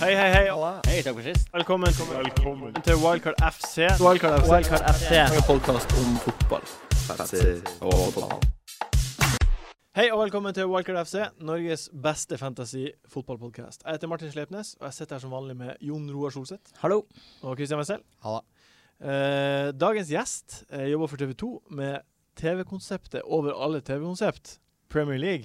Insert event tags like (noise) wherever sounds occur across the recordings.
Hei, hei, hei. Hei, takk for sist. Velkommen, til Wildcard FC. Wildcard FC. Wildcard FC. En podkast om fotball. Hei og velkommen til Wildcard FC, Norges beste fantasy-fotballpodkast. Jeg heter Martin Slepnes, og jeg sitter her som vanlig med Jon Roar Solseth Hallo. og Christian Wessel. Halla. Eh, dagens gjest eh, jobber for TV 2 med TV-konseptet over alle TV-konsept. Premier League.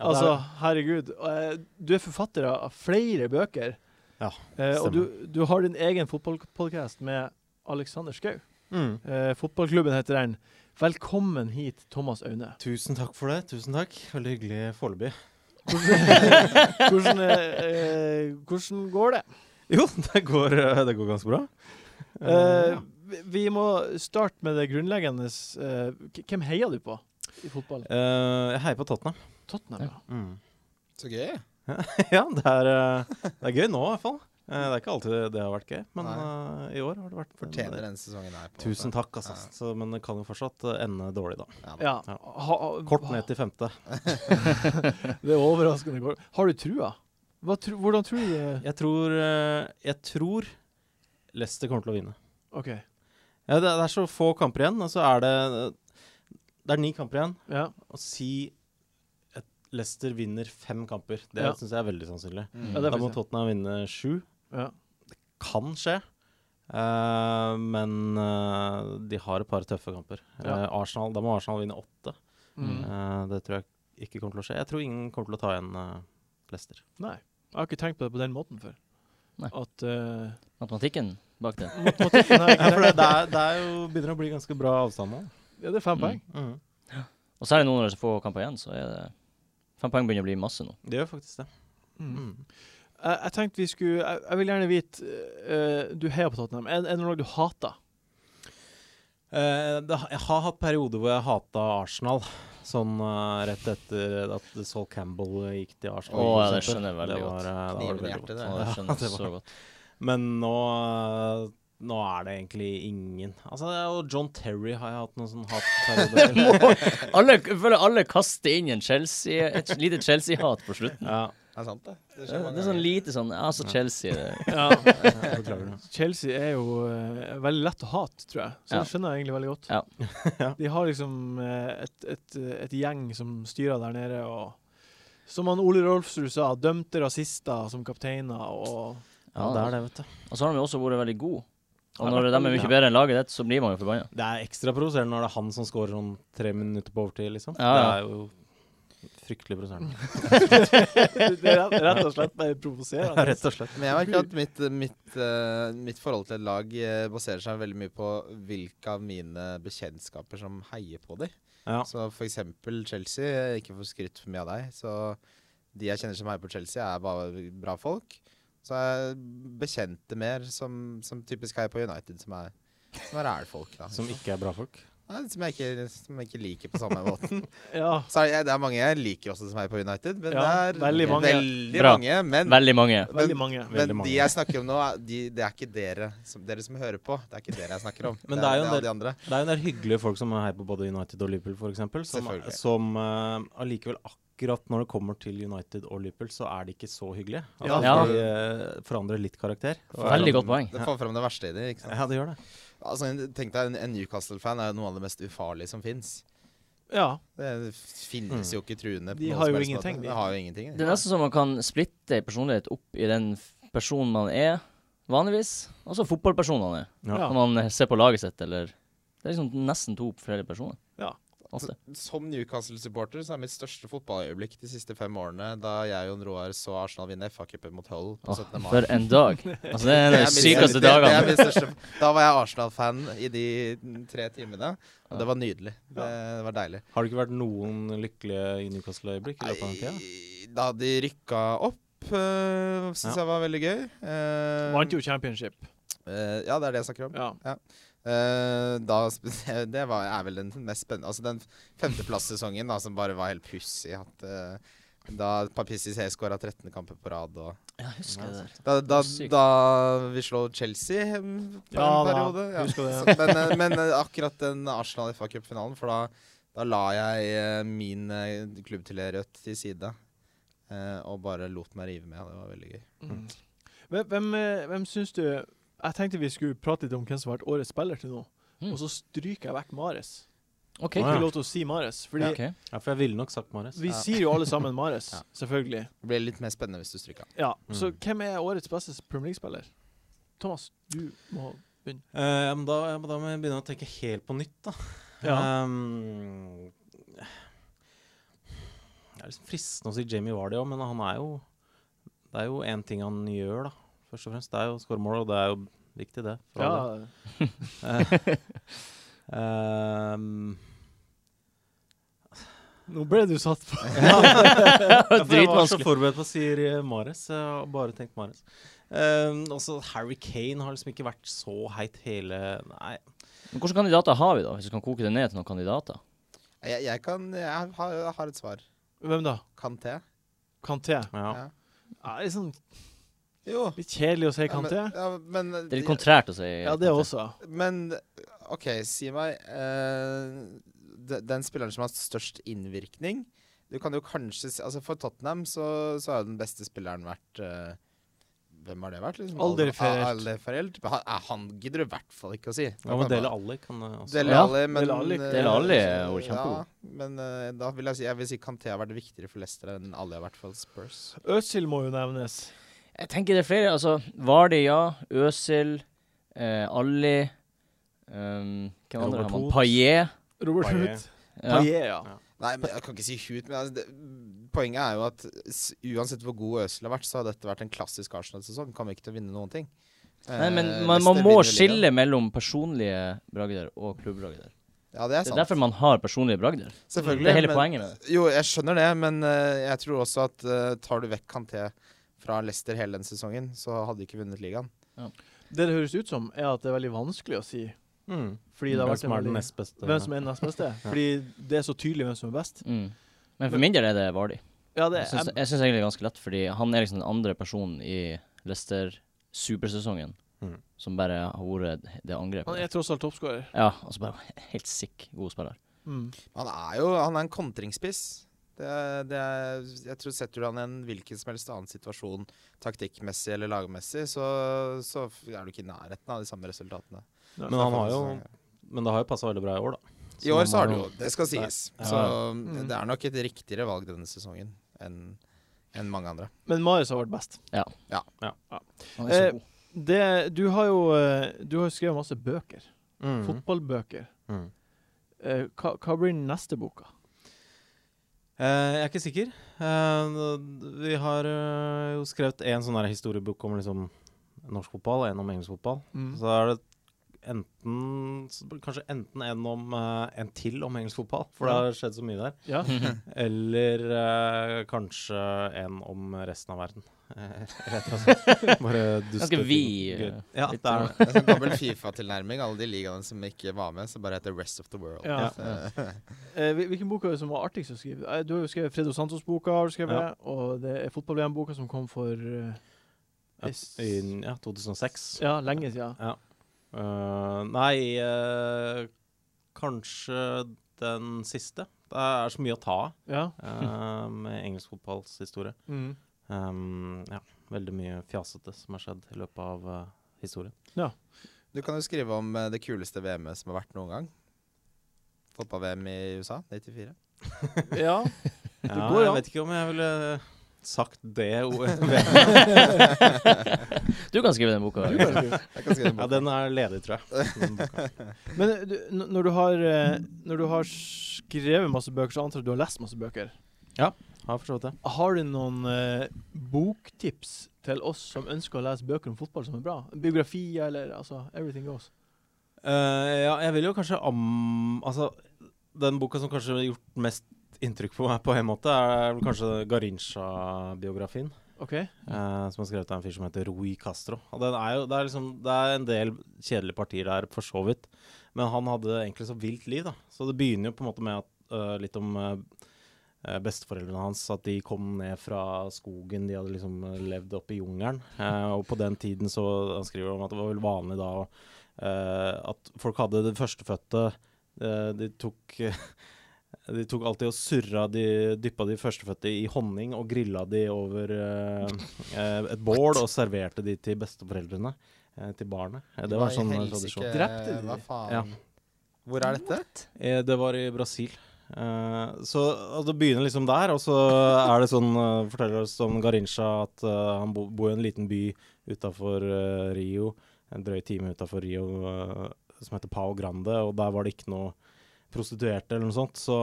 altså, herregud. og, eh, du er forfatter av flere bøker. Ja, Eh, og du, stemmer. du har din egen fotballpodkast med Alexander Schou. Mm. Eh, fotballklubben heter den. Velkommen hit, Thomas Aune. Tusen takk for det. Tusen takk. Veldig hyggelig foreløpig. Hvordan, eh, eh, hvordan går det? (laughs) Jo, det går, eh, det går ganske bra. (laughs) Eh, Eh, vi- vi må starte med det grunnleggende. eh, k- hvem heier du på i fotballen? eh, jeg heier på Tottenham. Mm. Tottenham, ja. Så gøy. (laughs) ja, det er, eh, det er gøy nå, i hvert fall. Eh, det er ikke alltid det har vært gøy, men eh, i år har det vært Fortjener denne sesongen her. på en Tusen måte. takk, altså. Ja. Så, men det kan jo fortsatt eh, ende dårlig, da. Ja, da. ja. Ja. Ha, ha, Kort ned til femte. Det er overraskende kort. Har du trua? Hva tro, hvordan tror du det? Jeg tror, eh, jeg tror Leicester kommer til å vinne. OK. Ja, det, det er så få kamper igjen, og så er det eh, Det er ni kamper igjen. Ja. Å si at Leicester vinner fem kamper, det Ja. synes syns jeg er veldig sannsynlig. Mm. Ja, det- Da må faktisk, Tottenham vinne sju. ja. Kan skje. Eh, men eh, de har et par tøffe kamper. Ja. Eh, Arsenal, da må Arsenal vinne åtte. Mm. Eh, det tror jeg ikke kommer til å skje. Jeg tror ingen kommer til å ta igjen eh, Leicester. Nei. Jeg har ikke tenkt på det på den måten før. Nei. At eh, Matematikken bak det. matematikken har jeg Ja, ikke (laughs) for det, tenkt det, er, det er jo begynner å bli ganske bra avstand nå. Ja, det er fem Mm. poeng. Mm. Og så er det noen år så få kamper igjen, så er det Fem poeng begynner å bli masse nå. Det gjør faktisk det. Mm. Mm. Jeg, jeg tenkte vi skulle Jeg, jeg vil gjerne vite eh, Du heier på Tottenham. Er, er det noe lag du hater? Eh, det, ha- jeg har hatt perioder hvor jeg hata Arsenal. Sånn eh, rett etter at Saul Campbell gikk til Arsenal. Å, ja, for det eksempel. skjønner jeg veldig det godt. var, eh, det var Kniven i veldig hjertet, godt. Så det det. skjønner jeg (laughs) det var- så godt. Men nå, eh, nå er det egentlig ingen. Altså, det er jo John Terry har jeg hatt noen sånn hatperioder. Alle, jeg føler alle kaster inn en Chelsea, et lite Chelsea-hat på slutten. ja, Det er sant, det. Det Det skjer er mange sånn ganger. lite sånn Altså, Chelsea det- Ja. jeg beklager det. (laughs) Chelsea er jo eh, veldig lett å hate, tror jeg. Så Ja. det skjønner jeg egentlig veldig godt. Ja. Ja. De har liksom eh, et, et, et gjeng som styrer der nede, og som han Ole Rolfsrud sa, dømte rasister som kapteiner og (laughs) Ja, det er det, vet du. Og så har de jo også vært veldig gode. Og Ja, når det de er er mye veldig- bedre enn laget ditt, så blir man jo forbanna. Det er ekstra provoserende når det er han som scorer sånn tre minutter på overtid, liksom. Ja, ja. Det er jo fryktelig provoserende. Det er rett- rett og slett bare provoserende. Rett og slett. Men jeg merker at mitt, mitt, eh, mitt forhold til et lag eh, baserer seg veldig mye på hvilke av mine bekjentskaper som heier på dem. Ja. Så for eksempel Chelsea, eh, ikke for skrytt for mye av deg, så de jeg kjenner som heier på Chelsea, er bare bra folk. Så er jeg bekjente mer som, som typisk heier på United, som er, som er ælfolk. da. Som ikke er bra folk. Nei, som, jeg ikke, som jeg ikke liker på samme måten. Ja. Så er det, det er mange jeg liker også som er på United, men Ja, det er veldig mange. veldig Bra. mange, men, Veldig mange. Veldig mange. men Veldig mange. de jeg snakker om nå, er- de, det er ikke dere som, dere som hører på. Det er ikke dere jeg (laughs) snakker om. Men det er jo en alle del- de andre. Det er jo en del hyggelige folk som heier på både United og Liverpool, f.eks. Som, Selvfølgelig. som eh, allikevel akkurat når det kommer til United og Liverpool, så er de ikke så hyggelige. Altså, Ja. De eh, forandrer litt karakter. Veldig godt poeng. Det får fram det verste i dem. ikke sant? Ja, det gjør det. Altså, en- tenk deg, en, en Newcastle-fan er jo noe av det mest ufarlige som fins. Ja. Det finnes jo ikke truende. på Mm. De noen har som jo helst måte. ingenting, de. De har jo ingenting. Det er nesten som man kan splitte en personlighet opp i den f- personen man er vanligvis, og så fotballpersonen man er. Ja. Ja. Når man ser på laget sitt, eller Det er liksom nesten to flere personer. Altså, Ja. Ofte. Som Newcastle-supporter så er mitt største fotballøyeblikk de siste fem årene da jeg og Jon Roar så Arsenal vinne FA-cupen mot Hull på Åh, 17. mai. for en (laughs) dag. Altså, det er Det de er min- sykeste det- det er dagene. min største- Da var jeg Arsenal-fan i de tre timene, og det var nydelig. Det var deilig. Har det ikke vært noen lykkelige i Newcastle-øyeblikk i løpet av den tida? Nei, Da de rykka opp, uh, syns Ja. jeg var veldig gøy. Eh, Vant jo championship. eh, ja, det er det jeg snakker om. Ja. Eh, da, sp- (laughs) det var, er vel den mest spennende Altså den femteplass-sesongen da, som bare var helt pussig. At, eh, da Papissi C skåra 13 kamper på rad. Og Ja, husker jeg det der. da, da, Sykt. da vi slår Chelsea eh, på Ja en da, periode. Ja. Husker du det? Så- men, eh, men eh, akkurat den Arsenal FA Cup-finalen, for da, da la jeg eh, min eh, klubbtilhørighet til side. eh, og bare lot meg rive med. Det var veldig gøy. Mm. Hvem, hvem, eh, hvem syns du Jeg tenkte vi skulle prate litt om hvem som har vært årets spiller til nå, Mm. og så stryker jeg vekk Mares. OK. Jeg Ah, har ja. ikke lov til å si Mares, fordi Ok. Ja, for jeg ville nok sagt Marius. vi Ja. sier jo alle sammen Mares, Ja. selvfølgelig. Det ble litt mer spennende hvis du stryka. Ja, Så Mm. hvem er årets beste Premier League-spiller? Thomas, du må Eh, ja, men da, ja, men da må jeg begynne å tenke helt på nytt, da. Ja. Ehm, det er liksom fristende å si Jamie Vardy òg, men han er jo Det er jo én ting han gjør, da. Først og fremst. Det er jo å score mål, og det er jo viktig, det. for Ja, (laughs) alle. Ehm, Eh, ehm, nå ble du satt på. (laughs) ja, for jeg var så Dritvanskelig. forberedt på å si eh, Mares. Jeg har bare tenkt Mares. Um, også Harry Kane har liksom ikke vært så heit hele Nei. Men hvilke kandidater har vi, da? Hvis vi kan koke det ned til noen kandidater? Jeg, jeg, kan, jeg, har, jeg har et svar. Hvem da? Kanté. Kanté? Ja. Ja. Ja, det er sånn Jo. litt kjedelig å si Kanté. Ja, men, ja, Det er litt men, kontrært å si. Ja, det også. men OK, si meg eh, de- Den spilleren som har størst innvirkning Du kan jo kanskje si Altså, for Tottenham så, så har jo den beste spilleren vært eh, hvem har det vært? Liksom? Alder Ferrelt. Ah, Alder Ferrelt. Men Han, eh, han gidder du i hvert fall ikke å si. Ja, men Dele Alli kan eh, også Dele Ja, Alli, men Dele Alli. eh, Dele Alli er jo Ja, kjempegod. men eh, da vil jeg si Jeg vil si Kanté har vært viktigere for Leicester enn Alli har vært for Spurs. Øzil må jo nevnes. Jeg tenker det er flere. Altså, Vardi, ja. Øsil. Eh, Alli. Um, hvem andre Robert har man? Holt. Payet. Robert Payet. Hood. Ja. Payet, ja. Nei, men jeg kan ikke si hut, men altså, det, poenget er jo at s- uansett hvor god Øsel har vært, så har dette vært en klassisk Arsenal-sesong. Kommer ikke til å vinne noen ting. Nei, men Eh, man, man Leicester må vinner skille ligaen. mellom personlige bragder og klubbragder. Ja, det er Det sant. er derfor man har personlige bragder. Selvfølgelig. det er hele men- poenget med Jo, jeg skjønner det, men eh, jeg tror også at eh, tar du vekk Kanté fra Leicester hele den sesongen, så hadde de ikke vunnet ligaen. Det det høres ut som, er at det er veldig vanskelig å si. Mm. Fordi det har Hvem vært en som er den veldig nest beste? Hvem som er nest (laughs) beste. Fordi det er så tydelig hvem som er best. Mm. Men for min del er det Vardi. Ja, det Jeg syns er jeg syns egentlig det er ganske lett, fordi han er liksom den andre personen i Leicester supersesongen Mm. som bare har vært det Han er angrepet. tross alt toppskårer. Ja, altså bare (laughs) helt sikk god spiller. Mm. Han er jo han er en kontringsspiss. Det, er- det er, jeg tror Setter du han i en hvilken som helst annen situasjon, taktikkmessig eller lagmessig, så, så er du ikke i nærheten av de samme resultatene. Ja. Men han har jo Men det har jo passa veldig bra i år, da. I år så har man det må- jo, det skal sies. Ja. Så eh, Mm. det er nok et riktigere valg denne sesongen enn enn mange andre. Men Marius har vært best. Han er Eh, så (laughs) god. Det, du har jo eh, Du har jo skrevet masse bøker. Mm. Fotballbøker. Mm. Eh, Hva, hva blir den neste boka? Eh, jeg er ikke sikker. Eh, vi har eh, jo skrevet en sånn her historiebok om liksom norsk fotball, og en om engelsk fotball. Mm. Mm. Så da er det enten så blir det Kanskje enten en om eh, en til om engelsk fotball, for det har skjedd så mye der. (laughs) Ja. Eller eh, kanskje en om resten av (laughs) verden. Eh, Rett og slett. Bare duste Ganske ting. vid, eh, (laughs) Ja, (laughs) litt det er det. Det er sånn gammel Fifa-tilnærming. Alle de ligaene som ikke var med, som bare heter Rest of the World. Ja. Så, Eh, hvil- Hvilken bok er det som var artigst å skrive? Eh, Du har jo skrevet Fredo Santos-boka, har du skrevet, Ja. og det er fotball-VM-boka som kom for eh, I ja, 2006. Ja, lenge siden. Eh, nei, eh, kanskje den siste. Det er så mye å ta av Ja. (laughs) eh, med engelsk fotballs historie. Mm. Um, ja, veldig mye fjasete som har skjedd i løpet av eh, historien. Du kan jo skrive om eh, det kuleste VM-et som har vært noen gang. Fotball-VM i USA 94. (laughs) ja. Ja, går jeg an. vet ikke om jeg ville sagt det (laughs) (laughs) ordet. Du kan skrive den (laughs) boka. Du kan skrive. Jeg kan skrive en ja, bok. den er ledig, tror (laughs) jeg. Den boka. Men eh, du, n- når, du har, eh, når du har skrevet masse bøker, så antar jeg at du har lest masse bøker. Har forstått det. Har du noen eh, boktips til oss som ønsker å lese bøker om fotball som er bra? Biografier eller altså Everything goes. Eh, ja, jeg vil jo kanskje am... Altså, den boka som kanskje har gjort mest inntrykk på meg på en måte, er vel kanskje Garincha-biografien. OK? eh, som har skrevet av en fyr som heter Rui Castro. Og den er jo, det, er liksom, det er en del kjedelige partier der, for så vidt. Men han hadde egentlig så vilt liv, da. Så det begynner jo på en måte med at, eh, litt om eh, besteforeldrene hans. At de kom ned fra skogen. De hadde liksom eh, levd oppe i jungelen. (laughs) Eh, og på den tiden så Han skriver om at det var vel vanlig da øh, eh, at folk hadde det førstefødte eh, De tok eh, øh, (laughs) De tok alltid og surra de, dyppa de førstefødte i honning og grilla de over eh, eh, et bål og serverte de til besteforeldrene. eh, Til barnet. Eh, Det var Hva i sånn eh, helsike- tradisjon. Drepte de Hva de? faen? Ja. Hvor er dette? Eh, Det var i Brasil. Eh, så altså, det begynner liksom der, og så er det sånn eh, Forteller oss om Garincha at eh, han bo, bor i en liten by utafor eh, Rio, en drøy time utafor Rio, eh, som heter Pao Grande, og der var det ikke noe prostituerte eller noe sånt, så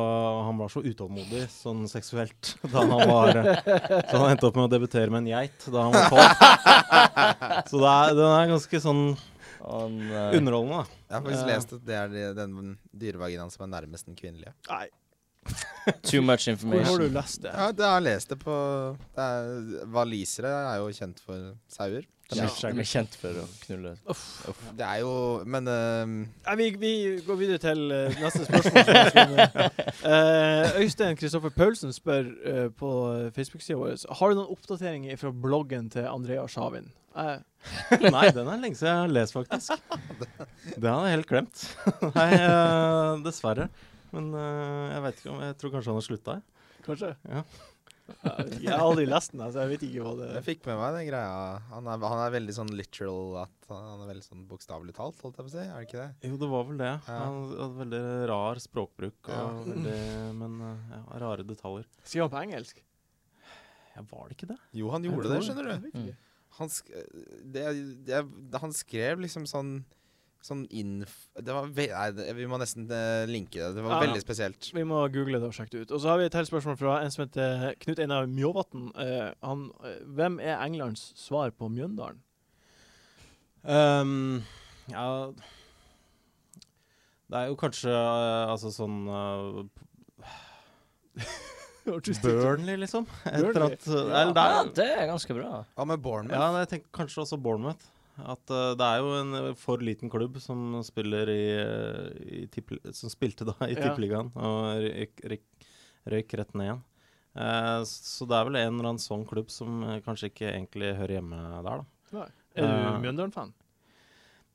han var så utålmodig sånn seksuelt (laughs) da han var eh, Så han endte opp med å debutere med en geit da han var tolv. Så det er, den er ganske sånn Han, eh, underholdende, da. Jeg har faktisk Ja. lest at det er de- den dyrevaginaen som er nærmest den kvinnelige. Nei, too much hvor har du information. lest det? Ja, det har jeg lest det på det er, Walisere er jo kjent for sauer. De Ja. er, de er kjent for å knulle. Det er jo Men eh, Nei, vi, vi går videre til eh, neste spørsmål. som jeg skrev ned. (laughs) Eh, Øystein Kristoffer Paulsen spør eh, på Facebook-sida vår Har du noen oppdateringer fra bloggen til Andrea Sjavin. Eh, Jeg Nei, den er lenge siden jeg har lest, faktisk. Det hadde jeg helt glemt. (laughs) Nei, eh, dessverre. Men eh, jeg vet ikke om Jeg tror kanskje han har slutta, jeg. Kanskje? Eh, Ja. Jeg har aldri lest den, så jeg vet ikke hva det jeg fikk med meg den greia. Han er, han er veldig sånn literal at Han er veldig sånn bokstavelig talt, holdt jeg på å si. Er det ikke det? Jo, det var vel det. Ja. Han hadde veldig rar språkbruk, og Ja. veldig, men eh, ja, rare detaljer. Skriver han på engelsk? Ja, var det ikke det? Jo, han gjorde det, skjønner du. Jeg vet ikke. Han, sk det, det, han skrev liksom sånn Sånn inf... Det var ve nei, det, vi må nesten eh, linke det. Det var Ja, ja. veldig spesielt. Vi må google det og sjekke det ut. Og så har vi et helt spørsmål fra en som heter Knut Einar Mjåvatn. Eh, han, eh, hvem er Englands svar på Mjøndalen? (laughs) Ehm, ja Det er jo kanskje eh, altså sånn eh, Burnley, liksom. Etter Burnley? at, eller det Ja, er, det er ganske bra. Hva med Bournemouth? Ja, men jeg tenker kanskje også Bournemouth. At eh, det er jo en eh, for liten klubb som spiller i, eh, i tippel- Som spilte da i Ja. Tippeligaen og røyk, røyk, røyk rett ned igjen. Eh, s- så det er vel en eller annen sånn klubb som eh, kanskje ikke egentlig hører hjemme der, da. Nei. Er Eh, du Mjøndalen-fan?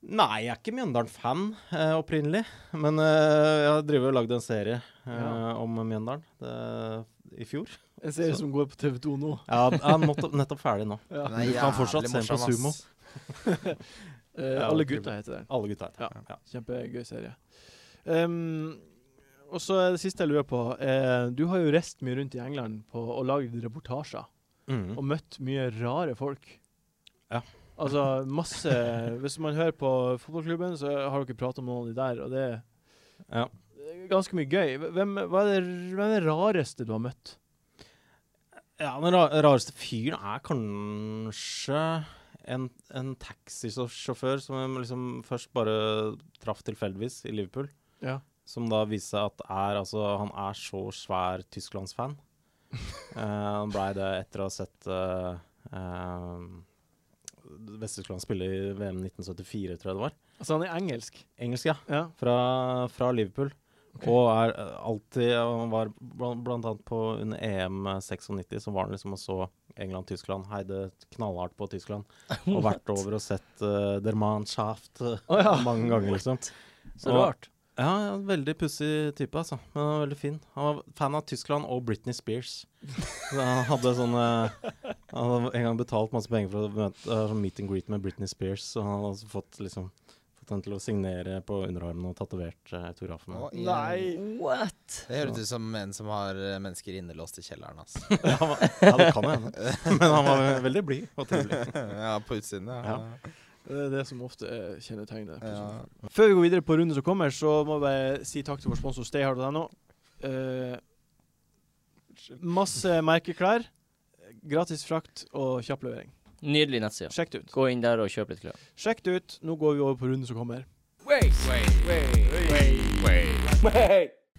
Nei, jeg er ikke Mjøndalen-fan eh, opprinnelig, men eh, jeg driver og lagde en serie eh, Ja. om Mjøndalen det, i fjor. En serie så- som går på TV2 nå. Ja, jeg er nettopp- nettopp ferdig nå. Ja. Den er Du kan jævlig fortsatt se den på morsom, Sumo. ass. Eh, Ja, alle det er gutta heter den. Alle gutta Ja. heter det. Ja. Kjempegøy serie. Ehm, og så er det siste jeg lurer på. Eh, du har jo reist mye rundt i England på, og lagd reportasjer. Mm. Og møtt mye rare folk. Ja. Altså masse Hvis man hører på fotballklubben, så har dere pratet om noen av de der, og det Ja. er ganske mye gøy. Hvem, hva er det, hvem er det rareste du har møtt? Ja, den ra rareste fyren er kanskje en, en taxisjåfør som jeg liksom først bare traff tilfeldigvis i Liverpool. Ja. Som da viste seg at er, altså, han er så svær Tysklandsfan. Eh, Han blei det etter å ha sett uh, Vest-Tyskland spille i VM 1974, tror jeg det var. Altså, han er engelsk. Engelsk, ja. Ja. Fra, fra Liverpool. Og er eh, alltid Han var blant, blant annet på under EM 96, så var han liksom og så England-Tyskland. Heide knallhardt på Tyskland. (laughs) Og vært over og sett uh, Der Mannschaft eh, Å ja. mange ganger, liksom. Så Og- rart. Ja, ja, veldig pussig type, altså. Men han var veldig fin. Han var fan av Tyskland og Britney Spears. Så han hadde sånn eh, Han hadde en gang betalt masse penger for å møte, eh, sånn meet and greet med Britney Spears, så han hadde altså fått liksom Fått henne til å signere på underarmen og tatovert uh, autografen. Å, i- Nei. What? Det høres ut som en som har eh, mennesker innelåst i kjelleren. ass. (laughs) Ja, han var- ja, det kan jo hende. Men han var veldig blid og trivelig. (laughs) ja, på utsiden, ja. Det er det som ofte er kjennetegnet. på ja. sånne Før vi går videre på runden som kommer, så må vi bare si takk til vår sponsor stayhard.no. Eh, masse merkeklær, gratis frakt og kjapp levering. Nydelig nettside. Sjekk det ut. Gå inn der og kjøp litt klær. Sjekk det ut. Nå går vi over på runden som kommer.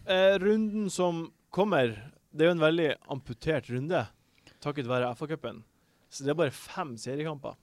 Eh, runden som kommer, det er jo en veldig amputert runde takket være FA-cupen. Så det er bare fem seriekamper.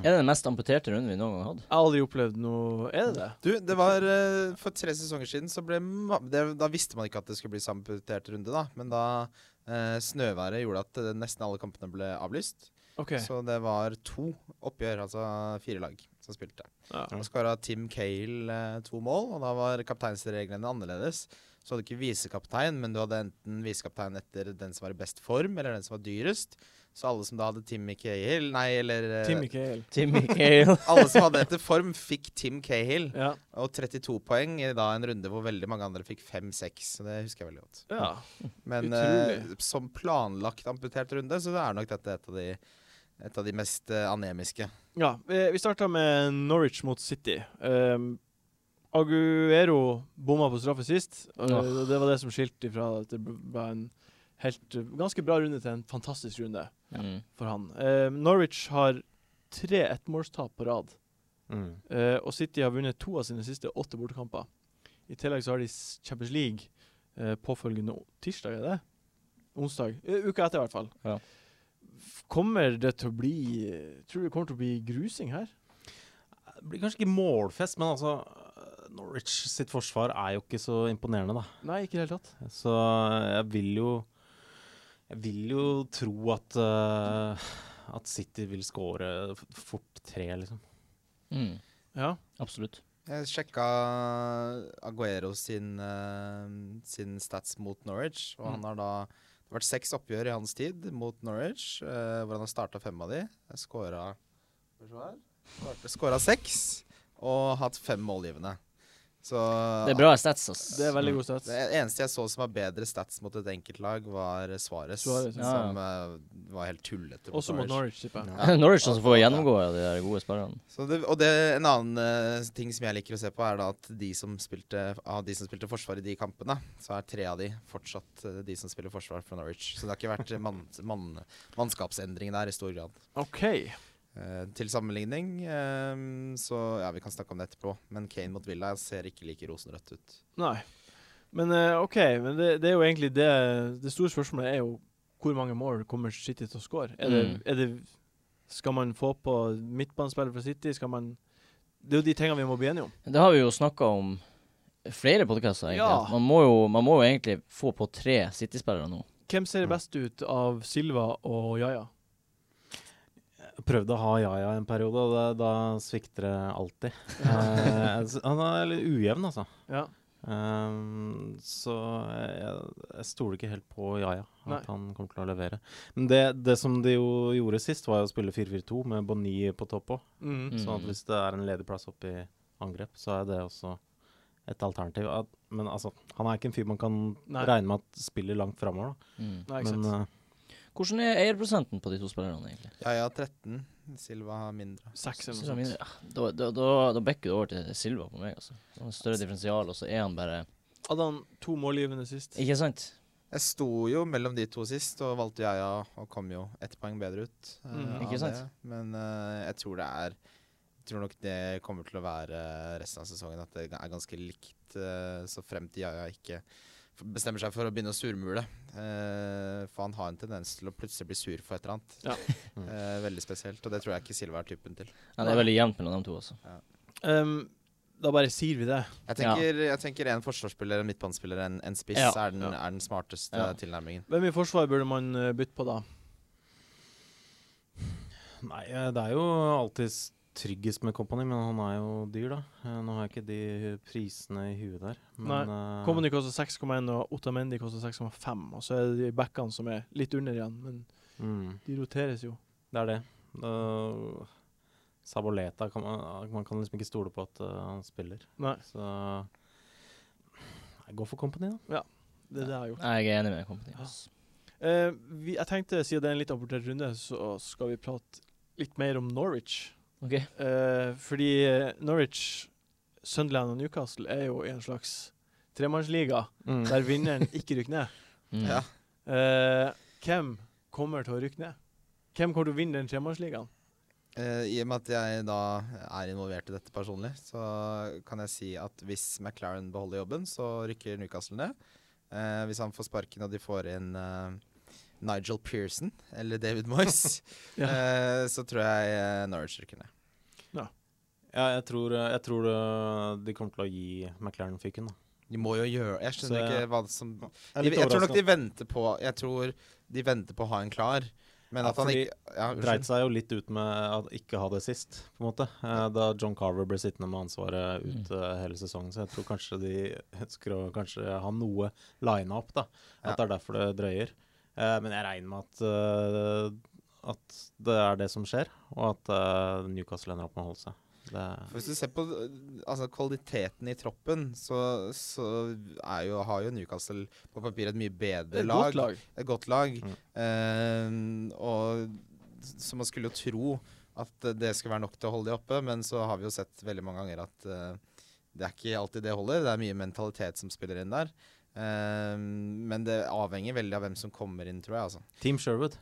Er det den mest amputerte runden vi noen gang har hatt? Jeg har aldri opplevd noe Er det det? Du, det var eh, For tre sesonger siden så ble ma det, Da visste man ikke at det skulle bli samputert runde, da. Men da eh, snøværet gjorde at eh, nesten alle kampene ble avlyst. OK. Så det var to oppgjør, altså fire lag. som spilte. Ja. Ja. Og skåra Tim Cale eh, to mål, og da var kapteinsreglene annerledes. Så hadde du ikke visekaptein, men du hadde enten visekaptein etter den som var i best form, eller den som var dyrest. Så alle som da hadde Tim Cahill Nei, eller eh, Timmy Cale. (laughs) Timmy Cale. Alle som hadde etter form, fikk Tim Cahill. Ja. Og 32 poeng i da en runde hvor veldig mange andre fikk 5-6. Så det husker jeg veldig godt. ja. Men Utrolig. eh, som planlagt amputert runde, så er nok dette et av de, et av de mest eh, anemiske. Ja, vi, vi starta med Norwich mot City. Ehm, Aguero bomma på straffe sist, og Ja. og det var det som skilte ifra at det var en helt, eh, ganske bra runde til en fantastisk runde Mm. for han. Ehm, Norwich har tre ettmålstap på rad, Mm. eh, og City har vunnet to av sine siste åtte bortekamper. I tillegg så har de s- Champions League eh, påfølgende o- tirsdag, er det? Onsdag. Eh, uka etter, i hvert fall. Ja. F- Kommer det til å bli Tror du det kommer til å bli grusing her? Det blir kanskje ikke målfest, men altså Norwich sitt forsvar er jo ikke så imponerende, da. Nei, ikke i det hele tatt. Så jeg vil jo Jeg vil jo tro at eh, At City vil score f- fort tre, liksom. Mm. Ja. Absolutt. Jeg sjekka Aguero sin, eh, sin stats mot Norwich, og Mm. han har da det har vært seks oppgjør i hans tid mot Norwich, eh, hvor han har starta fem av de. Skåra Skåra seks og hatt fem målgivende. Så Det er bra stats, ass. Det er veldig god stats. Det eneste jeg så som var bedre stats mot et enkeltlag, var Suárez. Suarez, ja. Som eh, var helt tullete. mot Også mot Norwich, Norwich. tipper jeg. (laughs) Norwich som får gjennomgå av de der gode spillerne. Så det, og det, en annen eh, ting som jeg liker å se på, er da at de som spilte, av de som spilte forsvar i de kampene, så er tre av de fortsatt eh, de som spiller forsvar for Norwich. Så det har ikke vært (laughs) eh, mann, mann, mannskapsendring der i stor grad. OK. Eh, til sammenligning eh, så Ja, vi kan snakke om det etterpå, men Kane mot Villa ser ikke like rosenrødt ut. Nei. Men eh, OK, men det, det er jo egentlig det Det store spørsmålet er jo hvor mange mål kommer City til å score? Er, det, Mm. er det Skal man få på midtbanespiller fra City? Skal man Det er jo de tingene vi må bli enige om. Det har vi jo snakka om flere podkaster, egentlig. Ja. at Man, må jo, man må jo egentlig få på tre City-spillere nå. Hvem ser best ut av Silva og Yaya? Jeg prøvde å ha Yaya en periode, og da, da svikter det alltid. Eh, s- han er litt ujevn, altså. Ja. Ehm, så jeg, jeg stoler ikke helt på Yaya, at Nei. han kommer til å levere. Men det, det som de jo gjorde sist, var jo å spille 4-4-2 med Bonny på topp òg. Mm. Mm. Sånn at hvis det er en ledig plass oppe i angrep, så er det også et alternativ. At, men altså, han er ikke en fyr man kan Nei. regne med at spiller langt framover, da. Mm. Nei, ikke Men sant. eh, Hvordan er eierprosenten på de to spillerne, egentlig? Ja, ja, 13. Silva har mindre. Seks eller Silva noe mindre. sånt. Ah, Da, da, da, da bekker det over til Silva på meg, altså. Han har større differensial, og så er han bare Hadde han to målgivende sist? Ikke sant? Jeg sto jo mellom de to sist, og valgte jeg ja, og kom jo ett poeng bedre ut. eh, Mm, av ikke sant? det. Men eh, jeg tror det er jeg tror nok det kommer til å være resten av sesongen, at det er ganske likt. eh, så frem til Jaja ikke f- bestemmer seg for å begynne å surmule. Eh, for han har en tendens til å plutselig bli sur for et eller annet. Ja. Mm. (laughs) Eh, veldig spesielt, og det tror jeg ikke Silva er typen til. Ja, det er veldig jevnt mellom de to, altså. Um, da bare sier vi det. Jeg tenker, jeg tenker en forsvarsspiller, en midtbanespiller, en, en spiss Ja. er, den, er den smarteste Ja. tilnærmingen. Hvem i forsvar burde man eh, bytte på da? Nei, eh, det er jo alltid tryggest med Company, men han er jo dyr, da. Eh, Nå har jeg ikke de prisene i huet der. Men, eh, Komony koster 6,1, og Otamendi koster 6,5. Og så er det de backene som er litt under igjen, men mm, de roteres jo. det er det. Eh, Saboleta kan man, man kan liksom ikke stole på at eh, han spiller. Nei, Så Nei, gå for Company, da. det er det jeg har gjort. Jeg er enig med altså. Company. ass. Eh, vi, jeg tenkte, siden det er en litt apportert runde, så skal vi prate litt mer om Norwich. OK. Eh, fordi eh, Norwich, Sunderland og Newcastle er jo i en slags tremannsliga, der vinneren ikke rykker ned. Mm. Ja. Eh, hvem kommer til å rykke ned? Hvem kommer til å vinne den tremannsligaen? Eh, I og med at jeg da er involvert i dette personlig, så kan jeg si at hvis McLaren beholder jobben, så rykker Newcastle ned. Eh, hvis han får sparken og de får inn eh, Nigel Pearson eller David Moyes, (laughs) Ja. eh, så tror jeg eh, Norwich rykker ned. Ja, jeg tror, eh, jeg tror eh, de kommer til å gi McLaren fyken, da. De må jo gjøre Jeg skjønner Så jeg- ikke hva som er de, litt Jeg tror nok overrasket. de venter på Jeg tror de venter på å ha en klar. Men Ja, at han fordi ikke ja, Dreit unnskyld. seg jo litt ut med å ikke ha det sist, på en måte. Eh, Da John Carver ble sittende med ansvaret ut eh, hele sesongen, så jeg tror kanskje de ønsker å kanskje ha noe lina opp, da. At det er derfor det drøyer. Eh, Men jeg regner med at, eh, at det er det som skjer, og at eh, Newcastle ender opp med å holde seg. Det Hvis du ser på øh, altså, kvaliteten i troppen, så, så er jo, har jo Newcastle på papiret et mye Det er bedre et lag. godt lag. Et godt lag. Mm. Eh, og så man skulle jo tro at eh, det skulle være nok til å holde de oppe, men så har vi jo sett veldig mange ganger at eh, det er ikke alltid det holder. Det er mye mentalitet som spiller inn der. Eh, men det avhenger veldig av hvem som kommer inn, tror jeg. (laughs) Altså. Team Sherwood.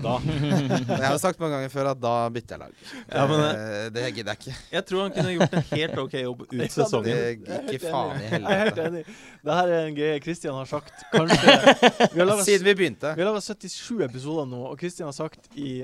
Da Jeg har jo sagt mange ganger før at da bytter jeg lag. Ja, men, Eh, det gidder jeg ikke. Jeg tror han kunne gjort en helt OK jobb (laughs) ut Det sesongen. Jeg er helt gikk i faen i enig. Jeg er helt helvete. enig. Det her er en greie Kristian har sagt kanskje (laughs) Vi har laga Siden vi begynte. Vi har laga 77 episoder nå, og Kristian har sagt i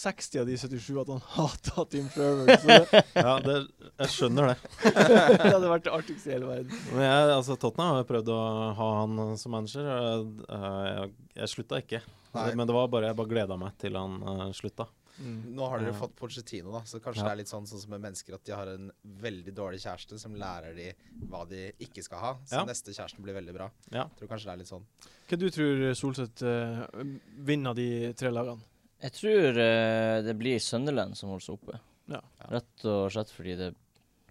60 av de 77 at han hater Team Fervor. Så det, (laughs) Ja, det, jeg skjønner det. det hadde vært det artigste i hele verden. Men jeg, altså, Tottenham har jo prøvd å ha han som manager. og, eh, Jeg, jeg slutta ikke. Nei. Men det var bare, jeg bare gleda meg til han eh, slutta. Nå har dere Ja. fått Pochettino, da, så kanskje Ja. det er litt sånn, sånn som med mennesker at de har en veldig dårlig kjæreste som lærer de hva de ikke skal ha. Så Ja. neste kjæresten blir veldig bra. Ja. Tror kanskje det er litt sånn. Hva du tror Solseth eh, vinner de tre lagene? Jeg tror eh, det blir Sunderland som holder seg oppe. Ja. Rett og slett fordi det er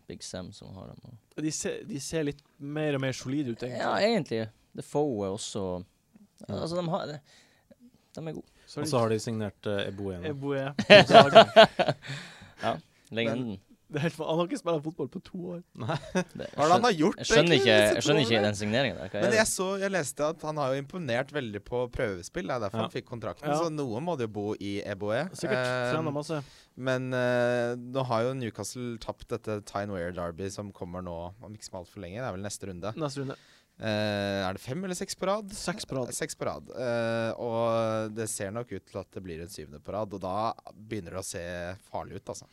Big Sam som har dem. og- De ser, de ser litt mer og mer solide ut, egentlig. Ja, egentlig. Det Foe er også Ja. Altså, de har De er gode. Så Og er så det har de signert uh, Eboe igjen. (laughs) Eboe. Saga. Legenden. Det er helt fa- Han har ikke spilt fotball på to år. Det- jeg Hva er det han skjønner- har gjort, Jeg skjønner ikke, disse jeg to skjønner ikke årene? den signeringen der. Hva er Men det? jeg, så, jeg leste at han har jo imponert veldig på prøvespill. Det er derfor Ja. han fikk kontrakten. Ja. Så noe må det jo bo i Eboe. Sikkert Eh, trener masse. men eh, nå har jo Newcastle tapt dette Tyne Wear Derby som kommer nå om ikke så altfor lenge. Det er vel neste runde. Neste runde. Eh, er det fem eller seks på rad? Seks på rad. Seks på rad. Eh, og det ser nok ut til at det blir en syvende på rad, og da begynner det å se farlig ut, altså.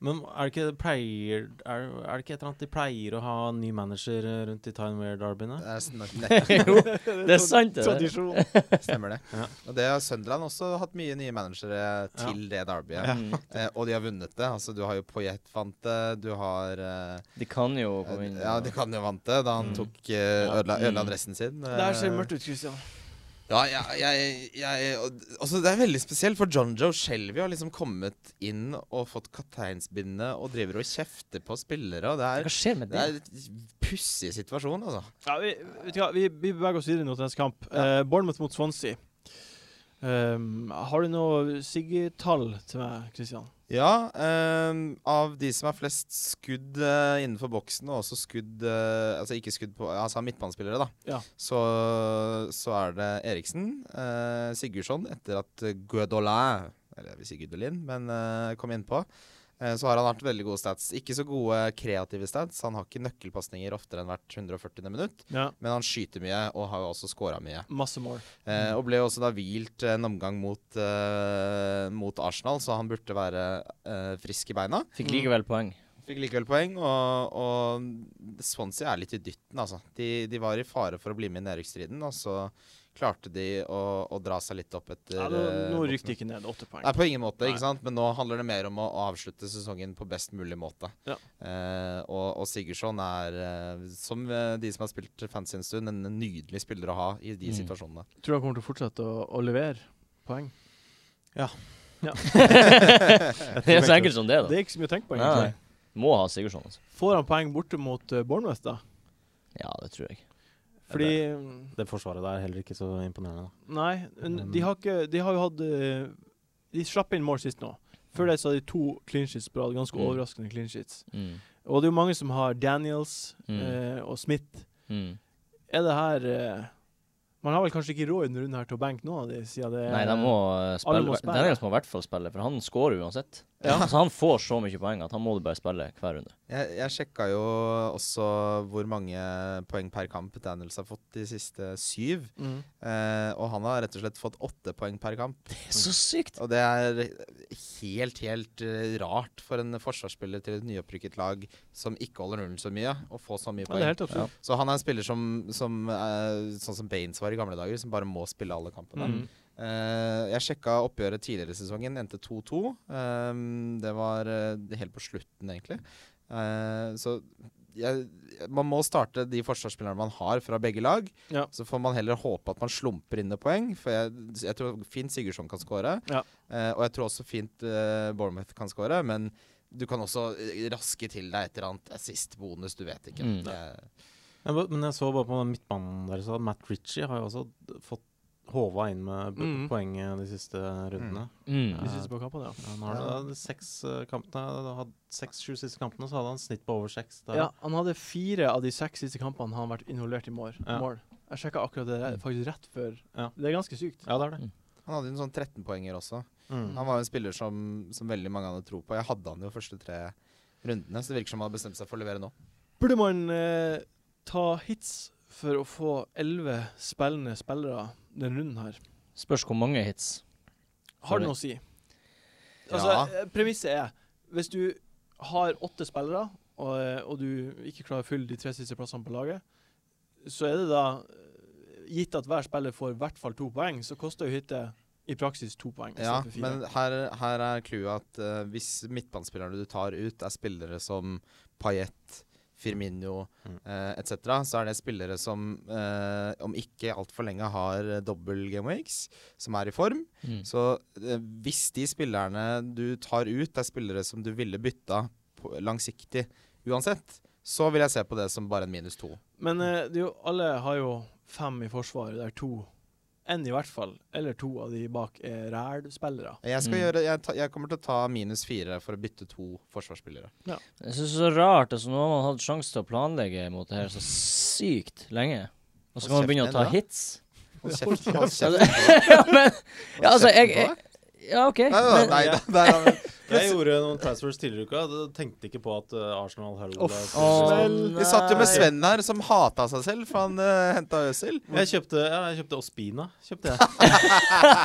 Men er det, ikke pleier, er, er det ikke et eller annet de pleier å ha en ny manager eh, rundt i Timewear-derbyene? Det (laughs) er sn- nett- (laughs) Jo, det er sant, det. Tradisjon. stemmer det. Ja. Og det har Sunderland også hatt mye nye managere til det derbyet. Mm. Eh, og de har vunnet det. Altså, du har jo Poyet vant det, du har eh, De kan jo komme inn. Ja, de kan jo vant det, da han Mm. tok eh, ødela, Mm. ødela dressen sin. Det her ser Eh, mørkt ut, Kristian. Ja, jeg, jeg, jeg og- altså Det er veldig spesielt, for John Joe Shelby har liksom kommet inn og fått kapteinsbindet og driver og kjefter på spillere. Og Hva det er, skjer med det er det? en pussig situasjon, altså. Ja, vi, vet du hva, vi, vi beveger oss videre nå til neste kamp. Eh, Bournemouth mot Swansea. Um, har du noe Siggy-tall til meg, Kristian? Ja, ehm, av de som har flest skudd eh, innenfor boksen, og også skudd eh, Altså ikke skudd på Altså midtbanespillere, da. Ja. Så, så er det Eriksen, eh, Sigurdsson, etter at Guedolin Eller jeg vil si Gudelin, men eh, kom innpå. Eh, så har han hatt veldig gode stats. Ikke så gode kreative stats. Han har ikke nøkkelpasninger oftere enn hvert 140. minutt, Ja. men han skyter mye og har jo også scora mye. Masse mål. Eh, og ble jo også da hvilt en omgang mot, eh, mot Arsenal, så han burde være eh, frisk i beina. Fikk likevel poeng. Fikk likevel poeng, og, og Swansea er litt i dytten, altså. De, de var i fare for å bli med i nedrykksstriden, og så klarte de å, å dra seg litt opp etter Ja, nå nå eh, rykker boksen. de ikke ned. Åtte poeng. Nei, på ingen måte, Nei. ikke sant? men nå handler det mer om å avslutte sesongen på best mulig måte. Ja. Eh, og, og Sigurdsson er, eh, som eh, de som har spilt fancy en stund, en nydelig spiller å ha i de Mm. situasjonene. Tror du han kommer til å fortsette å, å levere poeng? Det er så enkelt som det, Det da. er ikke så mye å tenke på, Nei. egentlig. Må ha Sigurdsson, altså. Får han poeng borte mot eh, Bournemouth, da? Ja, det tror jeg. Fordi mm, Det forsvaret der er heller ikke så imponerende. da. Nei, men de har, ikke, de har jo hatt eh, De slapp inn mål sist nå. Før det så hadde de to clean sheets på rad. Ganske Mm. overraskende clean sheets. Mm. Og det er jo mange som har Daniels Mm. eh, og Smith. Mm. Er det her eh, Man har vel kanskje ikke råd i denne runden her til å benke noen av de, siden det Nei, de må alle eh, spille. må spille. Daniels må i hvert fall spille, for han scorer uansett. Ja. Så han får så mye poeng at han må bare spille hver runde. Jeg, jeg sjekka jo også hvor mange poeng per kamp Daniels har fått de siste syv. Mm. Eh, og han har rett og slett fått åtte poeng per kamp. Det er så sykt! Og det er helt, helt eh, rart for en forsvarsspiller til et nyopprykket lag som ikke holder nullen så mye, å få så mye Ja, det er poeng. helt absurd. Så han er en spiller som, som eh, sånn som Baines var i gamle dager, som bare må spille alle kampene. Mm. Eh, jeg sjekka oppgjøret tidligere i sesongen, endte 2-2. Eh, det var eh, helt på slutten, egentlig. Eh, så jeg, man må starte de forsvarsspillerne man har fra begge lag. Ja. Så får man heller håpe at man slumper inn med poeng, for jeg, jeg tror fint Sigurdsson kan skåre. Ja. Eh, og jeg tror også fint eh, Bournemouth kan skåre, men du kan også eh, raske til deg et eller annet assist bonus, du vet ikke. Mm. Det- Jeg ba- Men jeg så bare på den midtbanen deres at Matt Ritchie har jo også d- fått håva inn med b- Mm. poeng eh, de siste rundene. Mm. De siste på kampene, ja. Han har Ja. da de seks eh, kampene, da had- seks-sju siste kampene, så hadde han snitt på over seks. der. ja. Han hadde fire av de seks siste kampene han har vært involvert i mål. Ja. mål. Jeg sjekka akkurat det Mm. der, faktisk rett før. Ja. Det er ganske sykt. ja, det er det. Han hadde jo en sånn 13-poenger også. Mm. Han var jo en spiller som, som veldig mange hadde tro på. Jeg hadde han jo første tre rundene, så det virker som han har bestemt seg for å levere nå. Burde man eh, ta hits for å få elleve spillende spillere denne runden her? Spørs hvor mange hits. Har det noe å si? Altså, Ja. eh, Premisset er hvis du har åtte spillere, og, eh, og du ikke klarer å fylle de tre siste plassene på laget, så er det da eh, Gitt at hver spiller får i hvert fall to poeng, så koster jo hytte i praksis to poeng. Ja, istedenfor fire. men her, her er clouet at eh, hvis midtbanespillerne du tar ut, er spillere som Payet, Firmino Mm. eh, etc., så er det spillere som eh, om ikke altfor lenge har eh, dobbel game weeks, som er i form. Mm. Så eh, hvis de spillerne du tar ut, er spillere som du ville bytta på, langsiktig uansett, så vil jeg se på det som bare en minus to. Men eh, det er jo, alle har jo fem i forsvaret, der to Én i hvert fall, eller to av de bak, er ræl-spillere. Jeg, skal Mm. gjøre, jeg, ta, jeg kommer til å ta minus fire for å bytte to forsvarsspillere. Jeg synes det er så rart. Altså, nå har man hatt sjanse til å planlegge mot det her så sykt lenge. Og så kan Hold man begynne å kjeften ta din, da. hits. Hold kjeft. Hold kjeft. Ja, det- ja, men, (laughs) ja, altså, Kjeften jeg, på jeg deg. Ja, OK. Nei, nei, Men, nei, nei, der har vi- Jeg gjorde noen transfers tidligere i uka. da Tenkte ikke på at eh, Arsenal har Uff. Å, Ola. Vi satt jo med nei. Sven her, som hata seg selv, for han uh, henta Øsil. Jeg kjøpte, ja, jeg kjøpte Ospina. Kjøpte jeg.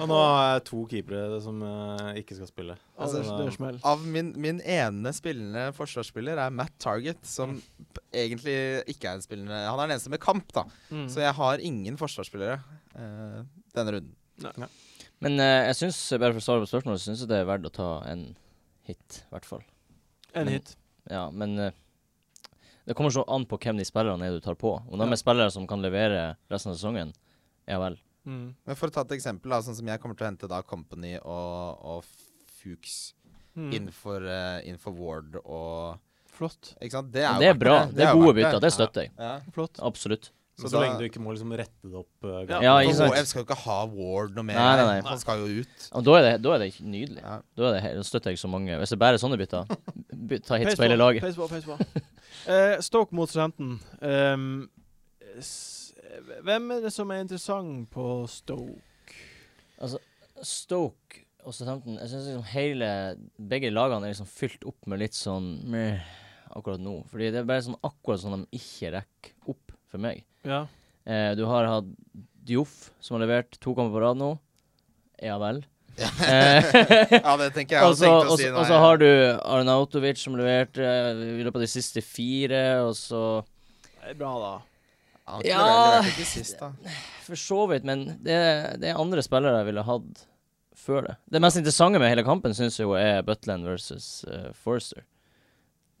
Og nå har jeg to keepere som eh, ikke skal spille. Altså, Ja, det, er- det er smell. Av min, min ene spillende forsvarsspiller er Matt Target, som p- egentlig ikke er en spillende Han er den eneste med kamp, da. Mm. Så jeg har ingen forsvarsspillere eh, denne runden. men eh, jeg syns, bare for å svare på spørsmålet, syns jeg det er verdt å ta en hit, i hvert fall. En hit. Ja, men eh, det kommer så an på hvem de spillerne er du tar på. Om de Ja. er spillere som kan levere resten av sesongen, ja vel. Mm. Men for å ta et eksempel, da, sånn som jeg kommer til å hente da Company og, og Fuchs Mm. innenfor, eh, innenfor Ward og Flott. Ikke sant? Det Men jo det er verdt bra. Det er jo gode verdt bytter. Det støtter jeg. Ja. Flott. Absolutt. Så Men så da- lenge du ikke må liksom rette det opp. eh, Ja. ganske- Ja, For ikke sant. HF skal jo ikke ha Ward noe mer. Nei, nei, nei. Han skal jo ut. Og da er det, da er det nydelig. Ja. Da, er det, he- da støtter jeg så mange. Hvis det bare er sånne (laughs) bytter, by- ta hits Peis på hele på, laget. Peis på, peis på. (laughs) Eh, Stoke mot Southampton. Ehm, s- hvem er det som er interessant på Stoke? Stoke og Southampton Jeg syns liksom hele Begge lagene er liksom fylt opp med litt sånn meh, akkurat nå. Fordi det er bare sånn akkurat sånn de ikke rekker opp for meg. Ja. Eh, du har hatt Dioff, som har levert to kamper på rad nå. Ja vel. (laughs) Eh, (laughs) Ja, det tenker jeg. (laughs) Og også så tenkte å og si så- nei. og så har du Arnautovic, som leverte eh, i løpet av de siste fire, og så Det er Bra, da. Han Ja. leverte ikke sist, da. For så vidt, men det, det er andre spillere jeg ville hatt før det. Det mest interessante med hele kampen syns jeg jo er Butland versus eh, Forster.